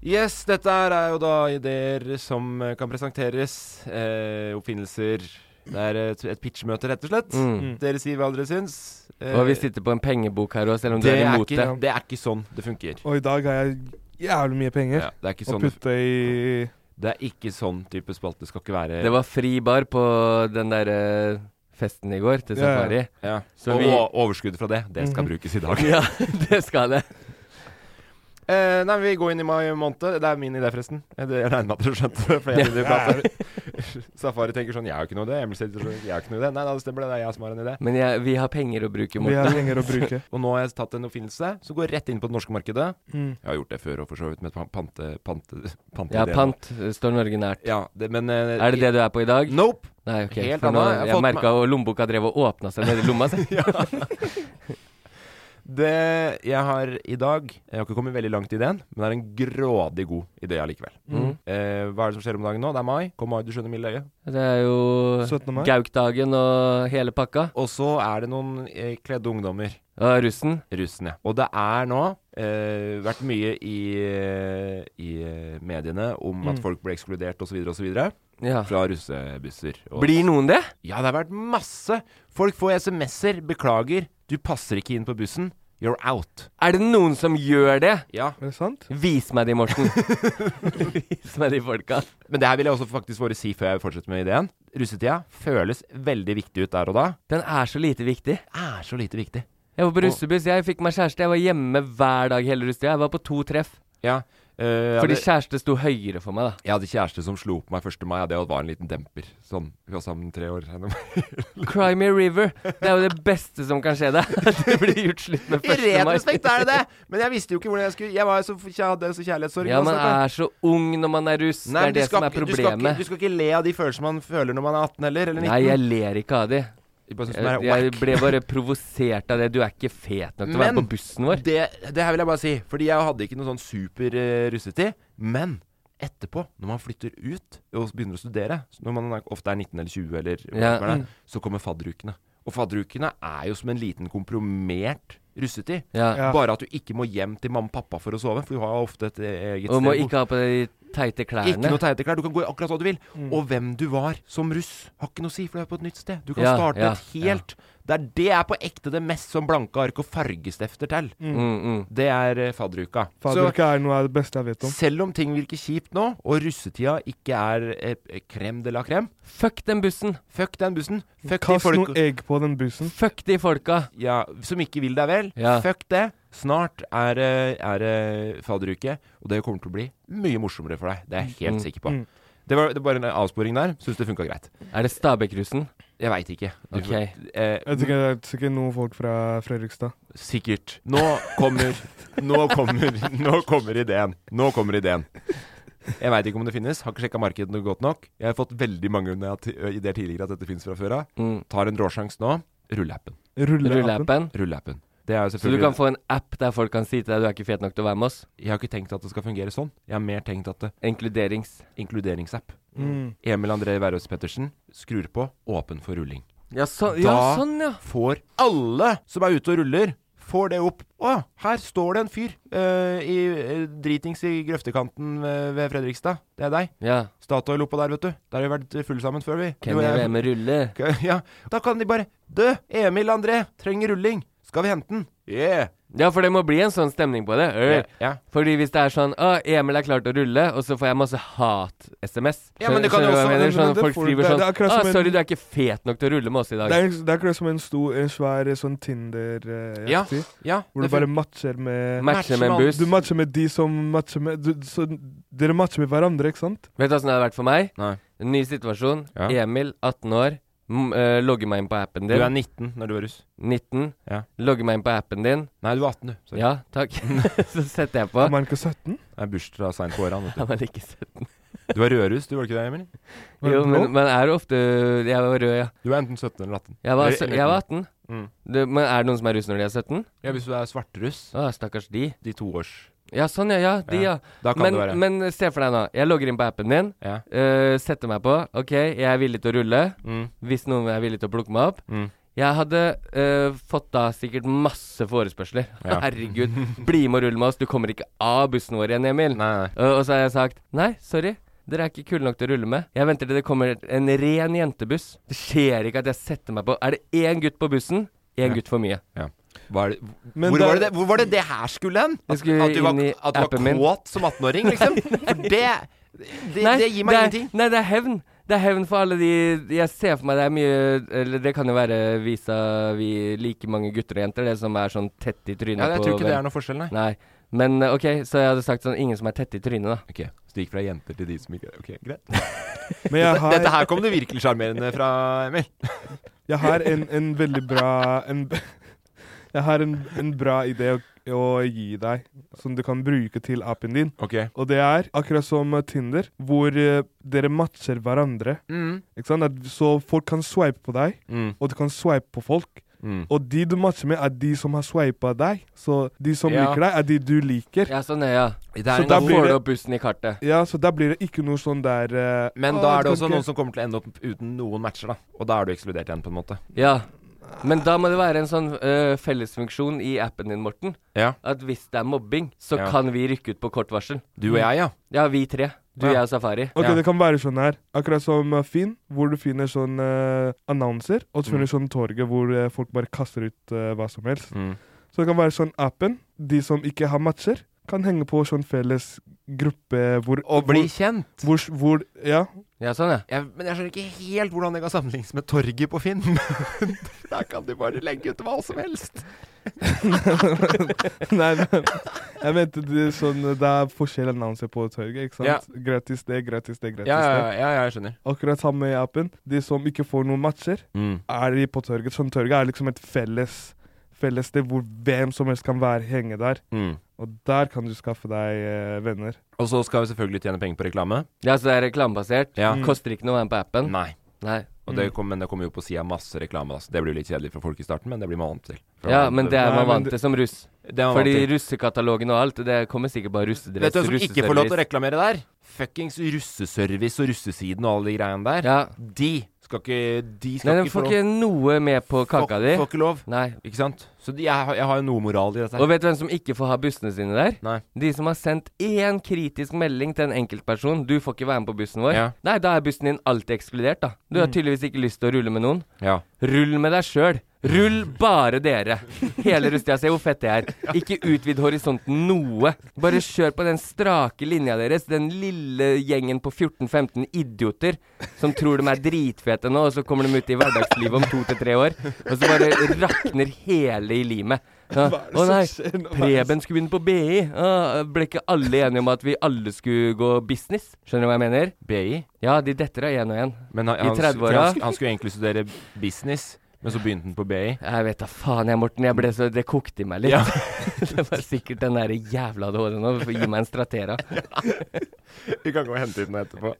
A: Yes, dette her er jo da ideer som eh, kan presenteres. Eh, oppfinnelser. Det er et, et pitchmøte, rett og slett. Dere sier hva dere syns. Eh,
C: Mm. Og vi sitter på en pengebok her òg, selv om du
A: det
C: er
A: er,
C: imot
A: ikke,
C: det.
A: det er ikke sånn det funker.
D: Og i dag har jeg jævlig mye penger
A: Ja, det er ikke
D: å
A: sånn det,
D: putte i
A: det er ikke sånn type spalte. Det skal ikke være
C: Det var fri bar på den derre festen i går, til
D: Ja, ja.
C: safari.
A: ja.
C: Så
A: Og
C: vi-
A: o- overskuddet fra det, det skal brukes i dag.
C: [LAUGHS] Ja, det skal det.
A: Eh, nei, vi går inn i mai måned. Det er min idé, forresten. Eh, det- Jeg regner med at dere skjønte det. For jeg begynner å prate. [LAUGHS] Safari tenker sånn Jeg har jo ikke noe idé. Emil sier sånn Jeg har ikke noe idé. Nei, nei, det stemmer, det. Det er jeg som har en idé.
C: Men jeg, vi har penger å bruke mot
D: Vi har
C: det.
D: penger å
A: [LAUGHS]
D: bruke.
A: Og nå har jeg tatt en oppfinnelse som går rett inn på det norske markedet.
D: Mm.
A: Jeg har gjort det før og for så vidt, med pan- pante... pante, pante
C: Ja, pant eh, står Norge nært.
A: Ja, det, men eh,
C: Er det det du er på i dag?
A: Nope.
C: Nei, ok.
A: Helt
C: for nå,
A: annet. Jeg har
C: jeg
A: fått meg-
C: merka lommeboka drev og åpna seg nedi
A: [LAUGHS]
C: lomma. si.
A: Det jeg har i dag Jeg har ikke kommet veldig langt i ideen, men det er en grådig god idé allikevel. Eh, hva er det som skjer om dagen nå? Det er mai. Kom mai, du skjønner milde øye.
C: Det er jo
D: 17. mai.
C: Gaukdagen og hele pakka.
A: Og så er det noen eh, kledde ungdommer.
C: Og russen.
A: Russen, ja. Og det er nå eh, vært mye i, eh, i eh, mediene om at folk ble ekskludert osv. osv.
C: Ja.
A: fra russebusser. Og,
C: Blir noen det?
A: Ja, det har vært masse! Folk får SMS-er. 'Beklager, du passer ikke inn på bussen. You're out'.
C: Er det noen som gjør det?
A: Ja.
D: Er det sant?
C: Vis meg de,
A: [LAUGHS]
C: Morten. [LAUGHS] Vis meg de folka.
A: Men det her vil jeg også faktisk bare si før jeg fortsetter med ideen. Russetida føles veldig viktig ut der og da.
C: Den er så lite viktig.
A: Er så lite viktig.
C: Jeg var på russebuss, jeg fikk meg kjæreste. Jeg var hjemme hver dag hele russetida. Jeg var på to treff.
A: Ja. eh, jeg
C: Fordi
A: hadde-
C: kjæreste sto høyere for meg, da.
A: jeg hadde kjæreste som slo på meg 1. mai, og det var en liten demper. Sånn, Vi var sammen tre år.
C: [LAUGHS] Cry me a river. Det er jo det beste som kan skje deg. [LAUGHS] At det blir gjort slutt med
A: I
C: første
A: ren
C: mai.
A: respekt er det det! [LAUGHS] Men jeg visste jo ikke hvordan jeg skulle Jeg var jo så, jeg hadde så kjærlighetssorg.
C: Ja, man
A: uansett, da.
C: er så ung når man er russ.
A: altså. Nei, men
C: det er det
A: du skal
C: som er
A: ikke- Du skal, ikke, du
C: problemet.
A: skal ikke le av de følelsene man føler når man er 18 heller, eller 19.
C: Nei, jeg ler ikke av de.
A: Jeg bare synes det
C: Jeg,
A: er
C: jeg
A: whack.
C: ble bare provosert av det. Du er ikke fet nok til å være
A: Men-
C: på bussen vår.
A: Det, det her vil jeg bare si, fordi jeg hadde ikke noen sånn super eh, russetid. Men etterpå, når man flytter ut og begynner å studere, så når man er, ofte er 19 eller 20, eller hva
C: Ja, mm.
A: som er det, så kommer fadderukene. Og fadderukene er jo som en liten komprimert russetid.
C: Ja.
D: Ja.
A: Bare at du ikke må hjem til mamma og pappa for å sove, for du har ofte et eh, eget
C: Og må
A: sted.
C: ikke ha på deg de teite
A: Ikke
C: klærne.
A: noe teite klær. Du kan gå i akkurat hva du vil. Og hvem du var som russ, har ikke noe å si, for du er på et nytt sted. Du kan
C: Ja,
A: starte
C: ja,
A: et helt Det er det er på ekte det mest som blanke ark og fargestifter til.
C: Mm, mm.
A: Det er eh, fadderuka. Så
D: Fadderuke er noe av det beste jeg vet om.
A: selv om ting virker kjipt nå, og russetida ikke er eh, krem de la krem
C: Fuck den bussen.
A: Fuck den bussen. Fuck de
D: Kast e-
A: folk
D: noen egg på den bussen.
C: Fuck de folka.
A: ja, som ikke vil deg vel.
C: Ja.
A: Fuck det. Snart er det er det fadderuke, og det kommer til å bli mye morsommere for deg. Det er jeg
D: Mm,
C: Mm.
A: helt sikker på. Det var, det var bare en avsporing der. Syns det funka greit.
C: Er det Stabekk-russen?
A: Jeg veit ikke. Du
C: Ok.
A: får- eh,
D: Jeg tenker det er sikkert noen folk fra Fredrikstad.
A: sikkert. Nå kommer Nå kommer, nå kommer ideen. Nå kommer ideen. Jeg veit ikke om det finnes. Har ikke sjekka markedet noe godt nok. Jeg har fått veldig mange når jeg har ti- ideer tidligere at dette finnes fra før av.
C: Mm.
A: Tar en råsjanse nå. Rulleappen.
D: Rulleappen.
C: Rulleappen?
A: Rulleappen. Det er jo
C: Så du
A: selvfølgelig
C: kan få en app der folk kan si til deg du er ikke fet nok til å være med oss.
A: Jeg har ikke tenkt at det skal fungere sånn. Jeg har mer tenkt at det
C: Inkluderings.
A: inkluderingsapp.
D: Mm.
A: Emil André Wærøs Pettersen skrur på åpen for rulling.
C: Ja, så,
A: Da
C: ja sånn, ja.
A: Får alle som er ute og ruller, får det opp. Å, her står det en fyr eh, i, eh, dritings i grøftekanten eh, ved Fredrikstad. Det er deg.
C: ja.
A: Statoil oppå der, vet du. Der har vi vært fulle sammen før, vi.
C: Kan
A: Du og
C: jeg
A: jeg.
C: være med rulle?
A: Ok, [LAUGHS] Ja, da kan de bare Dø! Emil André trenger rulling. Skal vi hente den? Yeah!
C: Ja, for det må bli en sånn stemning på det. Øh.
A: Ja.
C: Fordi hvis det er sånn Å, Emil er klar til å rulle, og så får jeg masse hat-SMS.
A: Ja, men det kan jo
C: Skjønner- skjønner du hva jeg
A: også-
C: mener?
D: men
C: Sånn,
D: det
C: folk
D: får-
C: skriver
D: det-
C: sånn
D: det er
C: Å,
D: akkurat som en-
C: sorry, du er ikke fet nok til å rulle med oss i dag.
D: Det er, liksom, det er akkurat som en, stor, en svær eh, sånn Tinder-jaktig.
A: Ja, ja.
D: hvor du
A: det
D: bare
A: fun-
D: matcher med
C: Matche med en
A: Matchmann.
C: buss.
D: Du matcher med de som matcher med du, så, Dere matcher med hverandre, ikke sant?
C: Vet du hva som det hadde vært for meg?
A: Nei.
C: En ny situasjon.
A: Ja.
C: Emil, 18 år, m eh, logger meg inn på appen
A: Du
C: din.
A: er 19 når du er russ.
C: 19.
A: Ja.
C: Logger meg inn på appen din.
A: Nei, du er 18, du. Sorry.
C: Ja, takk. [LAUGHS] så setter jeg på.
D: Er man ikke 17?
A: Det er bursdag seint på åra.
C: [LAUGHS] Han er ikke søt.
A: Du er rødruss, du var ikke det, Emil?
D: Var
C: Jo,
D: det
C: men
D: blå?
C: man er ofte Jeg var rød, ja.
A: Du er enten 17 eller 18.
C: Jeg var,
A: Eller- eller
C: jeg var 18.
A: Mm.
C: Du, men er det noen som er russ når de er 17?
A: Ja, Hvis du er svartruss,
C: Å, stakkars de.
A: de to års
C: Ja, sånn, ja. ja de, ja.
A: Ja. Da kan
C: men,
A: det være.
C: men se for deg nå. Jeg logger inn på appen din.
A: Ja.
C: øh, setter meg på. OK, jeg er villig til å rulle.
A: Mm.
C: Hvis noen er villig til å plukke meg opp.
A: Mm.
C: Jeg hadde øh, fått da sikkert masse forespørsler.
A: Ja.
C: [LAUGHS] Herregud, bli med og rull med oss. Du kommer ikke av bussen vår igjen, Emil.
A: Nei, nei.
C: Øh, og så har jeg sagt nei, sorry. Dere er ikke kule nok til å rulle med. Jeg venter til det kommer en ren jentebuss. Det skjer ikke at jeg setter meg på Er det én gutt på bussen? Én
A: Ja.
C: gutt for mye.
A: Hva er det,
D: Men
A: hvor,
D: det er-
A: var det, det- hvor var det det her skulle hen?
C: Jeg
A: At,
C: skulle
A: at du var,
C: inn i
A: at du var
C: appen min.
A: kåt som 18-åring, liksom? For det, det, det gir meg
C: det er,
A: ingenting.
C: Nei, det er hevn. Det er hevn for alle de Jeg ser for meg det er mye Eller det kan jo være visa vi like mange gutter og jenter, det som er sånn tett i trynet
A: Ja, jeg tror
C: på
A: ikke det er noe forskjell, nei.
C: Nei. Men eh, OK, så jeg hadde sagt sånn Ingen som er tett i trynet, da.
A: Ok, Så det gikk fra jenter til de som ikke Ok, greit.
D: Men jeg har,
A: [LAUGHS] Dette her kom det virkelig sjarmerende fra, Emil.
D: jeg har en, en veldig bra en, [LAUGHS] Jeg har en, en bra idé å, å gi deg, som du kan bruke til appen din.
A: Ok.
D: Og det er akkurat som Tinder, hvor eh, dere matcher hverandre. Ikke sant? At, så folk kan swipe på deg,
A: Mm.
D: og du kan swipe på folk.
A: Mm.
D: Og de du matcher med, er de som har swipa deg. Så de som
A: Ja.
D: liker deg, er de du liker. Ja,
C: Ja, sånn er ja.
D: Så
C: Så
D: da
C: da
D: blir
C: får
D: det-
C: du opp bussen i kartet.
D: Så da blir det ikke noe sånn der eh,
A: Men
D: «Å,
A: da er
D: du
A: det
D: kan
A: også
D: ikke-
A: noen som kommer til å ende opp uten noen matcher, da. Og da er du ekskludert igjen, på en måte.
C: Ja. Men da må det være en sånn eh, fellesfunksjon i appen din, Morten.
A: Ja.
C: At hvis det er mobbing, så
A: Ja.
C: kan vi rykke ut på kort varsel.
A: Du og jeg, ja.
C: Ja, vi tre. Du,
A: Ja.
C: jeg og Safari.
D: Ok,
A: Ja.
D: Det kan være sånn her. Akkurat som eh, Finn, hvor du finner sånn eh, annonser. Og så finner du sånn torget hvor eh, folk bare kaster ut eh, hva som helst.
A: Mm.
D: Så det kan være sånn appen. De som ikke har matcher, kan henge på sånn felles gruppe hvor
A: Å bli kjent.
D: hvor, hvor, hvor
A: [LAUGHS]
D: Ja.
C: Ja, sånn, ja.
A: Jeg, men jeg skjønner ikke helt hvordan det kan sammenlignes med torget på Finn. [LAUGHS] Der kan de bare legge ut hva som helst.
D: Nei, men [LAUGHS] jeg mente det er sånn Det er forskjellige annonser på torget, ikke sant?
A: Ja.
D: Gratis det, gratis det, gratis
A: Ja, ja,
D: det.
A: ja, jeg skjønner.
D: Akkurat samme med appen. De som ikke får noen matcher,
A: Mm,
D: er de på torget. Sånn torget er liksom et felles Felles sted hvor hvem som helst kan være henge der. Og der kan du skaffe deg eh, venner.
A: mm. Og så skal vi selvfølgelig tjene penger på reklame.
C: Ja, så det er reklamebasert.
A: Ja.
D: Mm.
A: Mm.
C: Koster ikke noe å være med på appen.
A: Nei.
C: Nei.
A: Og det kom, men det kommer jo på sida masse reklame. Da. så Det blir jo litt kjedelig for folk i starten, men det blir man vant til. For
C: Ja,
A: man-
C: men det er
D: Nei,
C: man
D: men
C: vant
D: det-
C: til som russ.
A: det er man
C: Fordi
A: vant til.
C: russekatalogen og alt, det kommer sikkert bare russedress.
A: Vet du hvem som ikke får lov til å
C: russeservice.
A: reklamere der? Fuckings russeservice og russesiden og alle de greiene der.
C: Ja.
A: De skal ikke De skal
C: Nei, den
A: ikke få
C: får
A: lov.
C: ikke noe med på kaka
A: Får-
C: di.
A: Får ikke lov.
C: Nei.
A: Ikke sant? Så de, jeg, har- jeg har jo noe moral i dette. her.
C: Og vet du hvem som ikke får ha bussene sine der?
A: Nei.
C: De som har sendt én kritisk melding til en enkeltperson 'Du får ikke være med på bussen vår'.
A: Ja.
C: Nei, da er bussen din alltid ekskludert, da. Du har tydeligvis ikke lyst til å rulle med noen.
A: Ja.
C: Rull med deg sjøl. Rull bare dere. Hele Rustia, se hvor fett det er. Ikke utvid horisonten noe. Bare kjør på den strake linja deres, den lille gjengen på 14-15 idioter som tror de er dritfete nå, og så kommer de ut i hverdagslivet om to til tre år, og så bare rakner hele i limet. Ja.
D: Hva er det
C: Å
D: som
C: nei,
D: skjer nå? Hva er det
C: Preben skulle begynne på BI. Ah, ble ikke alle enige om at vi alle skulle gå business? Skjønner du hva jeg mener?
A: BI.
C: Ja, de detter av én og én.
A: Men han,
C: I
A: han,
C: 30-åra.
A: for han, sk- han skulle egentlig studere business, men så begynte han på BI.
C: Jeg vet da faen, jeg, Morten. Jeg ble så, det kokte i meg litt.
A: Ja.
C: [LAUGHS] det var sikkert den der jævla ADHD-en nå. Gi meg en Stratera.
A: Vi kan gå og hente ut noe etterpå.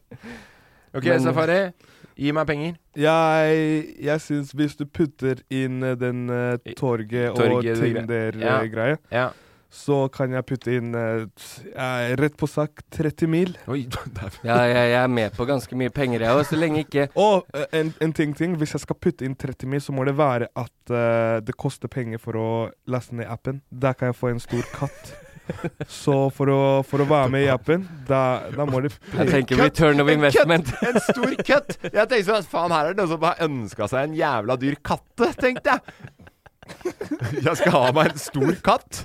A: Ok,
C: Men-
A: Safari. Gi meg penger.
D: Jeg, jeg syns hvis du putter inn eh, den eh, torget,
A: Torget,
D: og
A: det gre- Ja.
D: Tinder-greia,
A: Ja.
D: så kan jeg putte inn eh, t- eh, rett på sak 30 mil.
A: Oi, [LAUGHS] dæven.
C: Ja, jeg, jeg er med på ganske mye penger, jeg òg, så lenge ikke
D: Og eh, en, en ting, ting, hvis jeg skal putte inn 30 mil, så må det være at eh, det koster penger for å laste ned appen. Der kan jeg få en stor katt.
A: [LAUGHS]
D: Så for å, for å være med i appen, da, da må det
C: Jeg tenker return of
A: En cut!
C: investment.
A: En stor cut! Jeg tenkte sånn faen, her er det noen som har ønska seg en jævla dyr katte, tenkte jeg. Jeg skal ha meg en stor katt.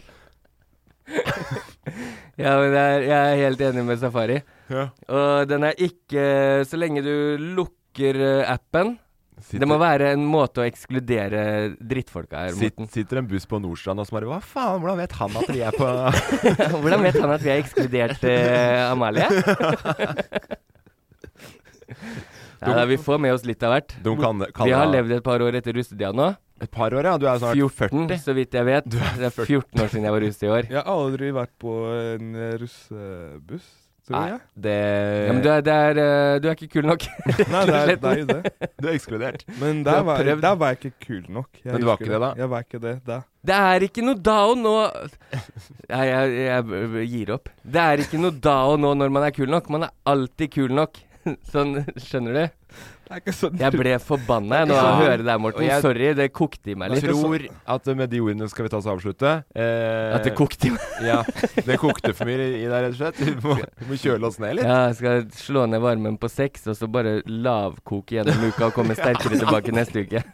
C: Ja, men jeg, er- jeg er helt enig med Safari.
A: Ja.
C: Og den er ikke Så lenge du lukker eh, appen Det må
A: Sitter-
C: være en måte å ekskludere drittfolka her,
A: Sitt,
C: Morten.
A: sitter en buss på Nordstrand og så bare Hva faen, hvordan vet han at vi er på
C: [LAUGHS] Hvordan vet han at vi har ekskludert eh, Amalie? [LAUGHS] Nei, da, vi får med oss litt av hvert.
A: [LAUGHS] De kan, kan
C: Vi har
A: ha-
C: levd et par år etter russetida nå.
A: et par år, ja. Du er snart
C: 14,
A: 40.
C: så vidt jeg vet.
A: Du er
C: Det er 14 år siden jeg var russet i år.
D: Jeg har aldri vært på en eh, russebuss, tror
A: Nei,
D: jeg.
A: det
C: Ja, men du er, det er, eh, du er ikke kul nok. [LAUGHS]
D: Nei, det er, det er jo det.
A: Du er ekskludert.
D: Men
A: har
D: der var,
A: prøvd.
D: der var jeg ikke kul nok. Jeg
A: Men du var
D: husker
A: ikke det da?
D: Jeg var ikke det da.
C: Det er ikke noe down nå Nei, jeg, jeg, jeg gir opp. Det er ikke noe down nå når man er kul nok. Man er alltid kul nok. [LAUGHS] Sånn, skjønner du?
D: Det er ikke sånn
C: Jeg ble forbanna jeg nå av å høre det her, Morten.
A: Og jeg-
C: Sorry, det kokte i meg
A: Jeg
C: litt. sånn-
A: tror at med de ordene skal vi ta oss og avslutte. Eh,
C: At det kokte i meg.
A: ja, det kokte for mye i deg, rett og slett. Vi må, vi må kjøle oss ned litt.
C: Ja, jeg skal slå ned varmen på seks, og så bare lavkoke gjennom uka og komme sterkere tilbake neste uke.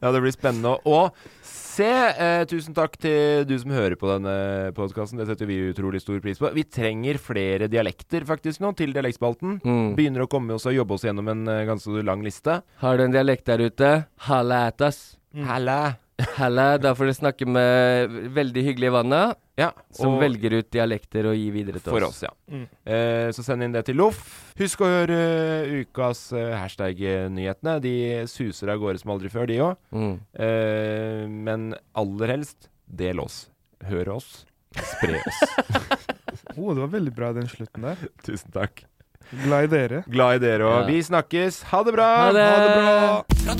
A: Ja, det blir spennende å se. Eh, tusen takk til du som hører på denne podkasten. Det setter vi utrolig stor pris på. Vi trenger flere dialekter faktisk nå til dialektspalten.
C: Mm.
A: Begynner å komme oss og jobbe oss gjennom en eh, ganske lang liste.
C: Har du en dialekt der ute, halla at oss.
A: Mm. Halla!
C: [LAUGHS] Halla, da får du snakke med veldig hyggelige vanna,
A: Ja, og-
C: som velger ut dialekter og gir videre til
A: For oss, ja. Eh, så send inn det til Loff. Husk å høre eh, ukas eh, hashtag-nyhetene. De suser av gårde som aldri før, de òg.
C: Mm.
A: Eh, men aller helst, del oss. Hør oss. Spre oss.
C: [LAUGHS]
D: oh, det var veldig bra den slutten der.
A: Tusen takk.
D: Glad i dere.
A: Glad i dere òg.
C: Ja.
A: Vi snakkes. Ha det bra!
C: Ha det!